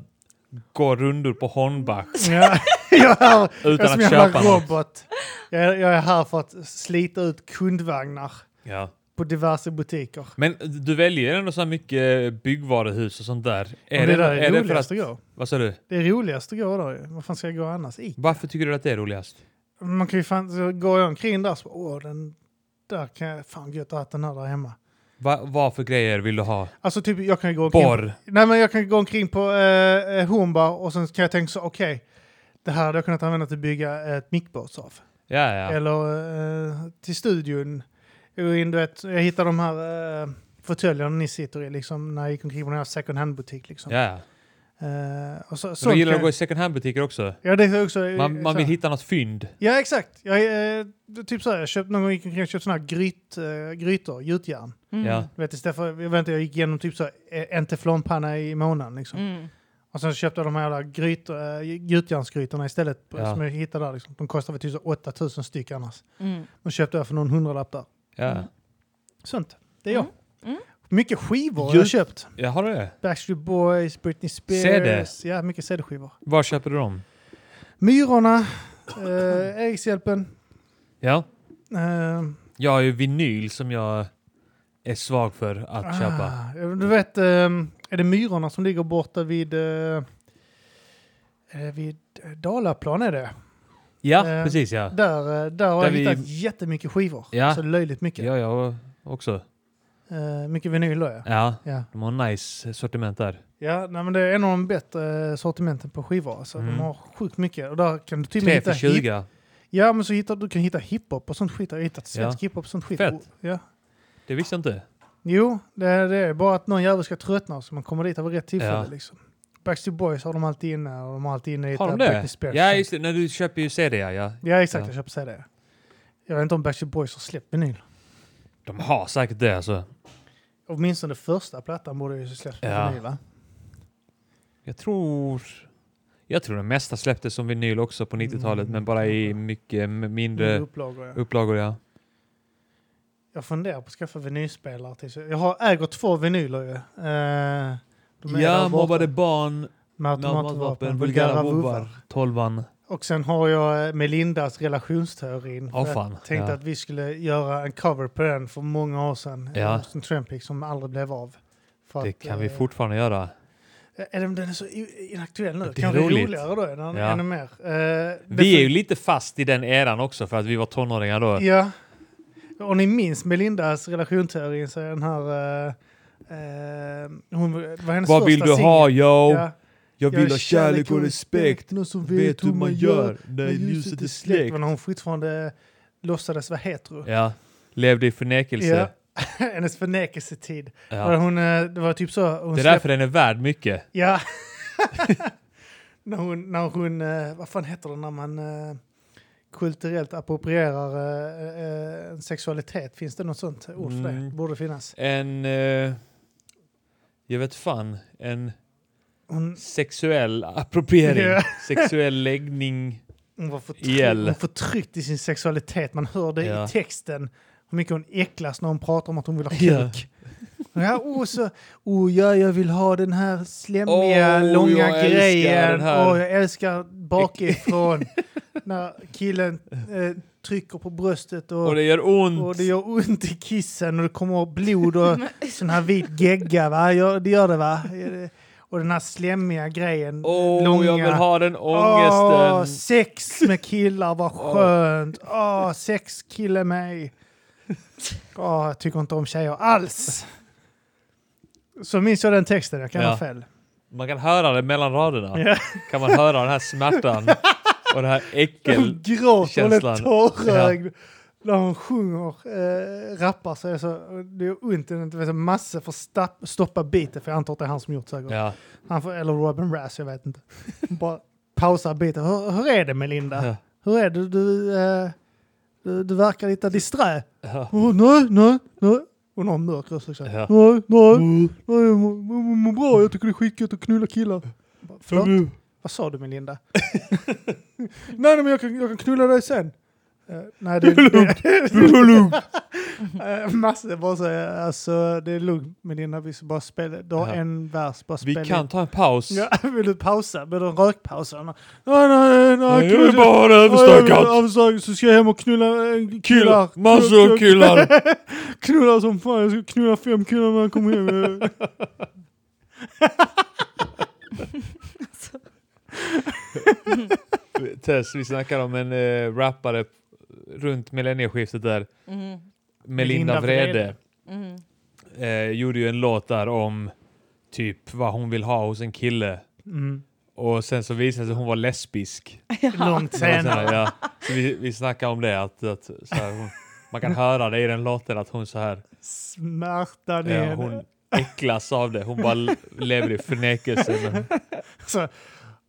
gå rundor på Hornbach Ja, jag är här jag utan är som en att jävla köpa något. robot. Jag är, jag är här för att slita ut kundvagnar Ja. på diverse butiker. Men du väljer ändå så här mycket byggvaruhus och sånt där. Är det, där är, är det för roligast att... att gå. Vad sa du? Det är roligast att gå då ju. Vad fan ska jag gå annars i? Varför tycker du att det är roligast? Man kan ju fan, så går jag omkring där så, åh den där kan jag, fan gött att ha den här där hemma. Va, vad för grejer vill du ha? Alltså typ jag kan ju gå omkring Borr? Nej men jag kan gå omkring på eh, eh, Hornbach och sen kan jag tänka så okej, det här hade jag kunnat använda till att bygga ett mickbås av. Ja, ja. Eller eh, till studion. Gå in, du vet, jag hittade de här eh, fåtöljerna ni sitter i liksom, när jag gick omkring på den här second hand-butik. Liksom. ja, ja. Eh, och så, Men sånt du gillar kan att gå i second hand-butiker också? Ja, det är också... eh, Man, man så- vill hitta något fynd. Ja, exakt. Jag, eh, typ så här, jag köpte någon gång gick omkring och köpte såna här gryt, eh, grytor, gjutjärn. Mm. Ja. Du vet, istället för, jag vet inte, jag gick igenom typ så här, eh, en teflonpanna i månaden liksom. Mm. Och sen köpte jag de här jävla grytor, äh, gjutjärnsgrytorna istället Ja. som jag hittade där. Liksom. De kostar väl typ så 8000 styck annars. Mm. De köpte jag för någon hundralapp där. Ja. Sånt. Det är jag. Mm. Mm. Mycket skivor har Gjut- jag köpt. ja, har du det? Backstreet Boys, Britney Spears. CD. Ja, mycket CD-skivor. Var köper du dem? Myrorna, eh, Erikshjälpen. Ja. Eh, Jag har ju vinyl som jag är svag för att köpa. ah, du vet, eh, är det Myrorna som ligger borta vid, eh, är det vid eh, Dalaplan är det? Ja, eh, precis ja. Där, eh, där har Där jag vi- hittat jättemycket skivor. Ja. Alltså löjligt mycket. Ja, jag också. Eh, mycket vinyl då ja. Ja, Ja, de har nice sortiment där. ja nej, men det är en av de bättre eh, sortimenten på skivor. Alltså. Mm. De har sjukt mycket. Och där kan du till och med 3 hitta för 20. Ja, men så hittar du kan hitta hiphop och sånt skit. Jag har hittat svensk hiphop och sånt skit. Fett. Och- Ja. Det visste jag inte. Jo, det är, det är bara att någon jävel ska tröttna så man kommer dit av rätt tillfälle. Ja. Liksom. Backstreet Boys har de alltid inne och de har alltid inne Har de lite Britney det? Spears. Ja, just det. När du köper ju CD, ja. ja. ja, exakt. Ja. Jag köper CD. Jag vet inte om Backstreet Boys har släppt vinyl. De har säkert det alltså. Åtminstone första plattan borde ju släppt på Ja. vinyl, va? Jag tror... Jag tror det mesta släpptes som vinyl också på 90-talet, Mm. men bara i mycket m- Mindre mindre upplagor, ja. upplagor, ja. Jag funderar på att skaffa vinylspelare till sig. Jag har, äger två vinyler ju. Eh, de är där Ja, borta. mobbade barn, Med automatvapen, automatvapen, vulgära vulgära vovvar. vovvar, tolvan. Och sen har jag eh, Melindas relationsteorin. Åh, För fan. jag tänkte Ja. att vi skulle göra en cover på den för många år sedan. Ja. Ja. En Trampik som aldrig blev av. För Det att, kan vi eh, fortfarande göra. Eller om den är så i- inaktuell nu. Det är Kanske roligt. roligare då än, Ja. ännu mer. Eh, Vi är ju lite fast i den eran också för att vi var tonåringar då. Ja. Och ni minns Melindas relationsteorin så är den här... Eh, eh, hon, vad är hennes Vad första vill du singel? ha yo? Ja. Jag vill ha kärlek och respekt. Någon som Vet hur man gör när ljuset är släckt. Men när hon fortfarande låtsades vara hetero. Ja. Levde i förnekelse. Hennes förnekelsetid. Där Ja. Hon, eh, det var typ så... Hon Det är släpp- därför den är värd mycket. Ja. när hon, när hon eh, vad fan heter det när man eh, kulturellt approprierar eh, eh, en sexualitet? Finns det något sånt ord för det? Mm. Borde finnas. En... Eh, jag vet fan. En Hon, sexuell appropriering. Ja. Sexuell läggning. hon var förtryckt, IL. hon förtryckt i sin sexualitet. Man hör det Ja. i texten. Hur mycket hon äcklas när hon pratar om att hon vill ha kuk. Ja, oh, så, oh, ja, jag vill ha den här slemmiga, Åh, långa Oh, jag älskar grejen. den här. Åh, jag älskar bakifrån. när killen eh, trycker på bröstet och, Och det gör ont. och det gör ont i kissen och det kommer blod och sån här vit gegga. Va? Gör, det gör det va? och den här slemmiga grejen. Åh, långa. jag vill ha den Åh, ångesten. sex med killar, vad skönt! Åh, sex kille mig! Åh, jag tycker inte om tjejer alls! Så minns jag den texten, jag kan Ja. ha fel. Man kan höra det mellan raderna. Ja. Kan man höra den här smärtan och det här äckel... Hon gråter och känslan. blir tårögd när hon sjunger, eh, rappar så är det så, det gör ont, det är så massor för stapp, stoppa biten, för jag antar att det är han som gjort säkert. Ja. Han får, eller Robin Rass, jag vet inte. Hon bara pausar biten. Hur, hur är det Melinda? Ja. Hur är det? Du, du, eh, du, du verkar lite disträ. Ja. Oh, nej, nej, nej. Hon har en mörk röst också. Ja. Mm. Nej, nej, nej, jag mår- mår mår bra. Jag tycker det är skitkul att knulla killar. Bara, Förlåt? Vad sa du Melinda? nej, nej, men jag kan, jag kan knulla dig sen. Eh, nej, det, det, det är lugnt. Eh, Massor bara så, eh, alltså det är lugnt Melinda, vi ska bara spela, du har Ja. en vers, bara spela Vi kan ta en paus. Ja, vill du pausa? Vill du en rökpaus? Han bara, Nej, nej, nej. Jag är bara överstökat. Avstökat. Så ska jag hem och knulla eh, killar. Killar. Massor av killar. Knulla som fan. Jag ska knulla fem killar när jag kommer hem. Tess, vi snackar om en eh, rappare runt millennieskiftet där. Mm-hmm. Melinda Melinda Vrede. Mm-hmm. Eh, gjorde ju en låt där om typ vad hon vill ha hos en kille. Mm. Och sen så visade det sig att hon var lesbisk. Långt Så man senare. säger, ja. så vi, vi snackar om det, att, att så här, hon, man kan höra det i den låten att hon så här, Smärtan i ja, henne. hon äcklas av det. Hon bara l- lever i förnekelse. Men, Så,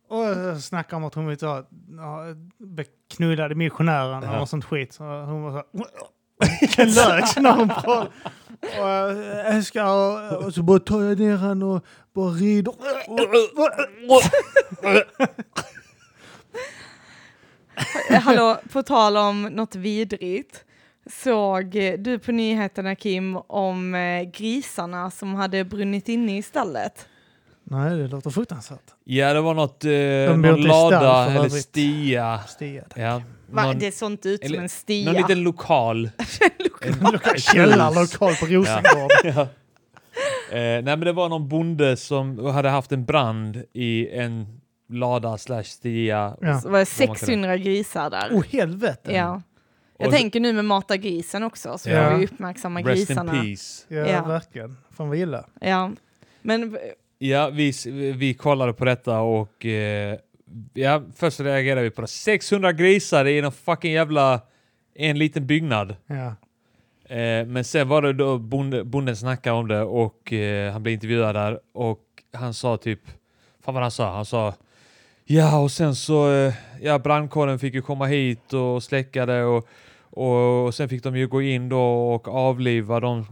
och jag snackar om att hon vill ta, ja, beknullade missionären Ja. och något sånt skit. Så hon var så här, lös när hon pratade. Och jag älskar, och så bara tar jag ner han och bara rider. Eh, Hallå, på tal om något vidrigt. Såg du på nyheterna Kim om eh, grisarna som hade brunnit inne i stallet? Nej, det låter fruktansvärt. ja, det var något, eh, bor någon inte i stall lada för eller övrigt. stia. Stiad. Ja, Va, någon, det såg inte ut som eller- en stia. någon liten lokal. Källarlokal på Rosengård. Eh, nej, men det var någon bonde som hade haft en brand i en lada slash stia. Ja. Så var det 600 grisar där. Åh helvete! ja. Jag Och- tänker nu med Mata grisen också, så Ja. får vi uppmärksamma Rest in grisarna. peace. Ja, Ja. verkligen. Fan vad illa. Ja. Men Ja, vi, vi kollade på detta och eh, ja, först reagerade vi på det. 600 grisar i en fucking jävla en liten byggnad. Ja. Eh, men sen var det då bonde, bonden snackade om det och eh, han blev intervjuad där och han sa typ, fan vad han sa, han sa ja och sen så, eh, ja brandkåren fick ju komma hit och släcka det och, och, och sen fick de ju gå in då och avliva de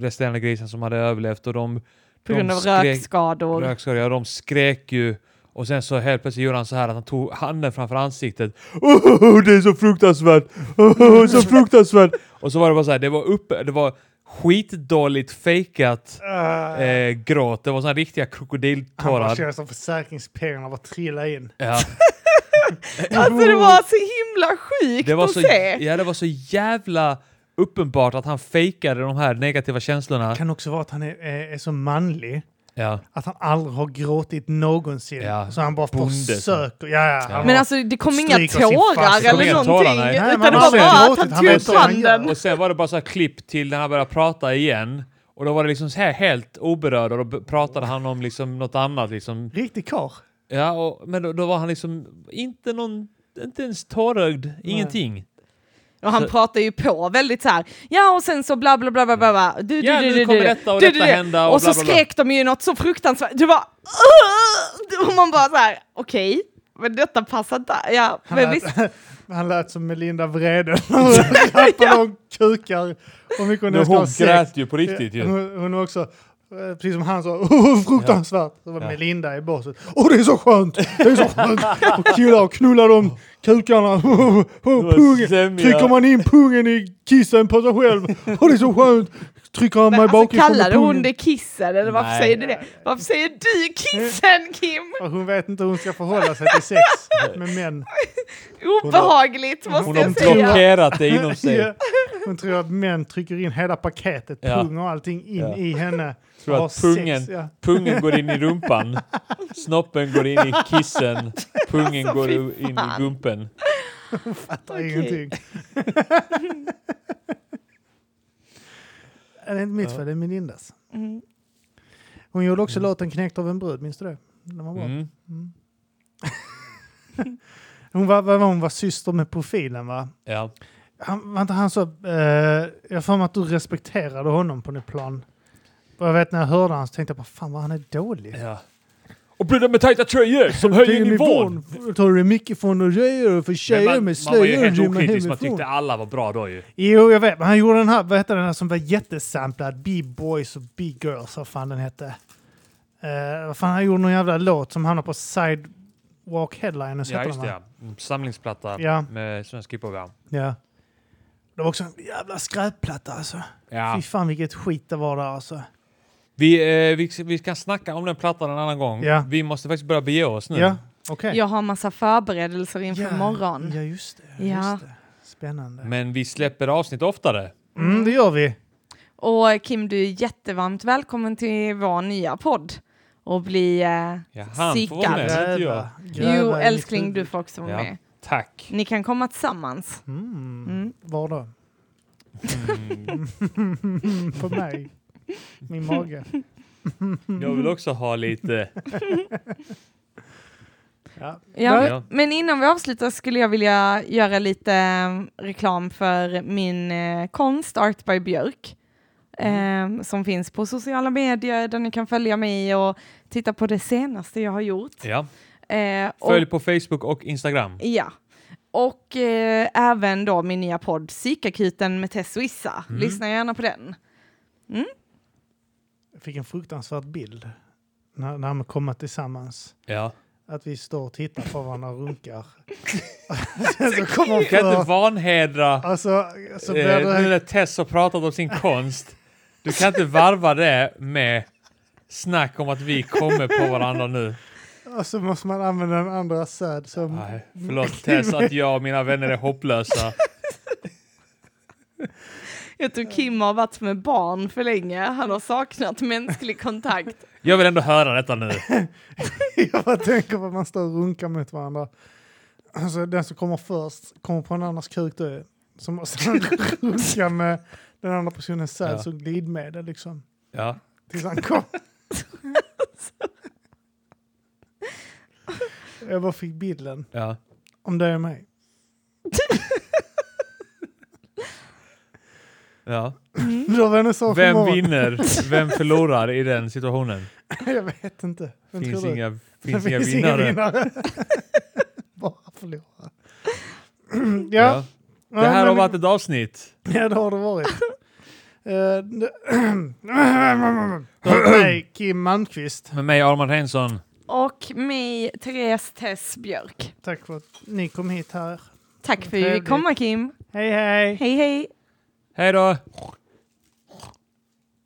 resterande grisarna som hade överlevt och de på de grund av skrek- rökskador. Rökskador, ja de skrek ju. Och sen så helt plötsligt gjorde han så här att han tog handen framför ansiktet. Oh, det är så fruktansvärt! Oh, så fruktansvärt! och så var det bara så här, det var uppe, det var skitdåligt fejkat eh, gråt. Det var såna riktiga Ah, Han bara krokodiltårar. känner som försäkringspengarna bara trillar in. Ja, Alltså det var så himla sjukt det, var att så, se. ja, det var så jävla uppenbart att han fejkade de här negativa känslorna. Kan också vara att han är, eh, är, är så manlig. Ja, Att han aldrig har gråtit någonsin. Ja, Så han bara bonde, så. försöker. Ja, ja, han Ja. Men bara- alltså det kom inga Stryk oss i fast. tårar Det kom eller inga någonting. tårar, nej. Nej, men utan det han var bara har att han gråtit, han tog vet upp vad han gör. handen. Och sen var det bara så här klipp till när han började prata igen. Och då var det liksom så här helt oberörd och då b- pratade han om liksom något annat liksom. Riktig karl. Ja, och, men då, då var han liksom inte någon, inte ens tårögd, ingenting. Och han Så- pratar ju på väldigt så här. ja och sen så bla bla bla bla bla, bla. Du, du, Ja, du, nu du, kommer du, detta och du, detta du, du. hända och Och bla, så bla, bla. skrek de ju något så fruktansvärt, du bara "Åh!" och man bara så här. okej, men detta passar inte. Ja, Han, men visst. lät, han lät som Melinda Vrede. Hon rappade om kukar. Och mycket hon Men älskar hon sex. grät ju på riktigt ju. Hon, hon var också, eh, precis som han sa, oh, fruktansvärt. Så var Ja. Melinda i basen. Åh det är så skönt! Det är så skönt! Och killar och knullar dem. kukarna, pungen. sämja. Trycker man in pungen i kissen på sig själv. Och det är så skönt. Trycker han Men, mig alltså, bakifrån med kallade hon pungen. det kissen eller varför Nej. säger du det? Varför säger du kissen Kim? Och Hon vet inte hur hon ska förhålla sig till sex med män. Obehagligt Hon måste har jag säga. blockerat det inom sig. Ja. Hon tror att män trycker in hela paketet, Ja. pung och allting in Ja. i henne. Tror och att har sex, pungen- ja. Pungen går in i rumpan, snoppen går in i kissen, pungen Alltså, går fy in i fan. gumpen. fattar Okej. ingenting. det är inte mitt fel, det är min Lindas. Mm. Hon gjorde också låten Knäckt av en brud, minns du det? Den var bra. Mm. Hon, var, var, hon var syster med profilen va? Ja. Han, var inte han så... eh, jag har för mig att du respekterade honom på något plan. Och jag vet när jag hörde han så tänkte jag bara fan vad han är dålig. ja. Och brudar med tajta tröjor som höjer nivån! Tar du mycket från och röjer och för Men tjejer man, med man var ju slöjor och helt rymmer okritisk, man hemifrån. tyckte alla var bra då ju. Jo, jag vet. Men han gjorde den här, vad hette den här som var jättesamplad? B-boys och B-girls, vad fan den hette. Eh, vad fan, han gjorde någon jävla låt som hamnade på Sidewalk Headliners. Ja, hette just den, det. va? Ja. Mm, Samlingsplatta Ja. med svensk hiphop, ja. ja. Det var också en jävla skräpplatta alltså. ja. Mm. Fy fan vilket skit det var där alltså. Vi, eh, vi, vi kan snacka om den plattan en annan gång. Ja. Vi måste faktiskt börja bege oss nu. Ja, okej. Jag har massa förberedelser inför Ja, morgon. Ja, just det. Ja. Just det. Spännande. Men vi släpper avsnitt oftare. Mm, det gör vi. Och Kim, du är jättevarmt välkommen till vår nya podd och bli... Eh, Ja, han får vara Sickad. med, så inte jag. gräva i jo, mitt älskling, du huvud. får också vara Ja. med. Tack. Ni kan komma tillsammans. Mm. Mm. Var då? Mm. På mig. Min mage. Jag vill också ha lite... Ja. Ja, Ja. Men innan vi avslutar skulle jag vilja göra lite eh, reklam för min eh, konst Art by Björk Mm. eh, som finns på sociala medier där ni kan följa mig och titta på det senaste jag har gjort. Ja. Eh, och- Följ på Facebook och Instagram. Ja. Och eh, även då min nya podd Psykakuten med Tess och Issa. Mm. Lyssna gärna på den. Jag fick en fruktansvärd bild när, när man kommer tillsammans. Ja. Att vi står och tittar på varandra och runkar. Sen så kommer Kan jag för, inte vanhedra alltså, så eh, blir nu det, när Tess har pratat om sin konst. Du kan inte varva det med snack om att vi kommer på varandra nu. och så alltså, måste man använda den andra säd som... Nej, förlåt Tess att jag och mina vänner är hopplösa. Jag tror Kim har varit med barn för länge. Han har saknat mänsklig kontakt. Jag vill ändå höra detta nu. Jag bara tänker på att man står och runkar mot varandra. Alltså den som kommer först kommer på en annans kuk då. Så måste han runka med den andra personens säd Ja. som glidmedel liksom. Ja. Tills han kom. Jag bara fick bilden. Ja. Om det är mig. Ja. Då var det så för Vem morgon. vinner? Vem förlorar i den situationen? Jag vet inte. Vem Finns tror du? inga, Det finns inga vinnare. vinnare. Bara förlorare. ja. Ja. Det här har men- varit ett avsnitt. Ja, det har det varit. Eh, det- Nej, Kim Malmqvist. Med mig Armand Henson. Och mig, Therese Tess Björk. Tack för att ni kom hit här. Tack för att du Trevligt. fick komma Kim. Hej, hej! Hej hej! Hej då!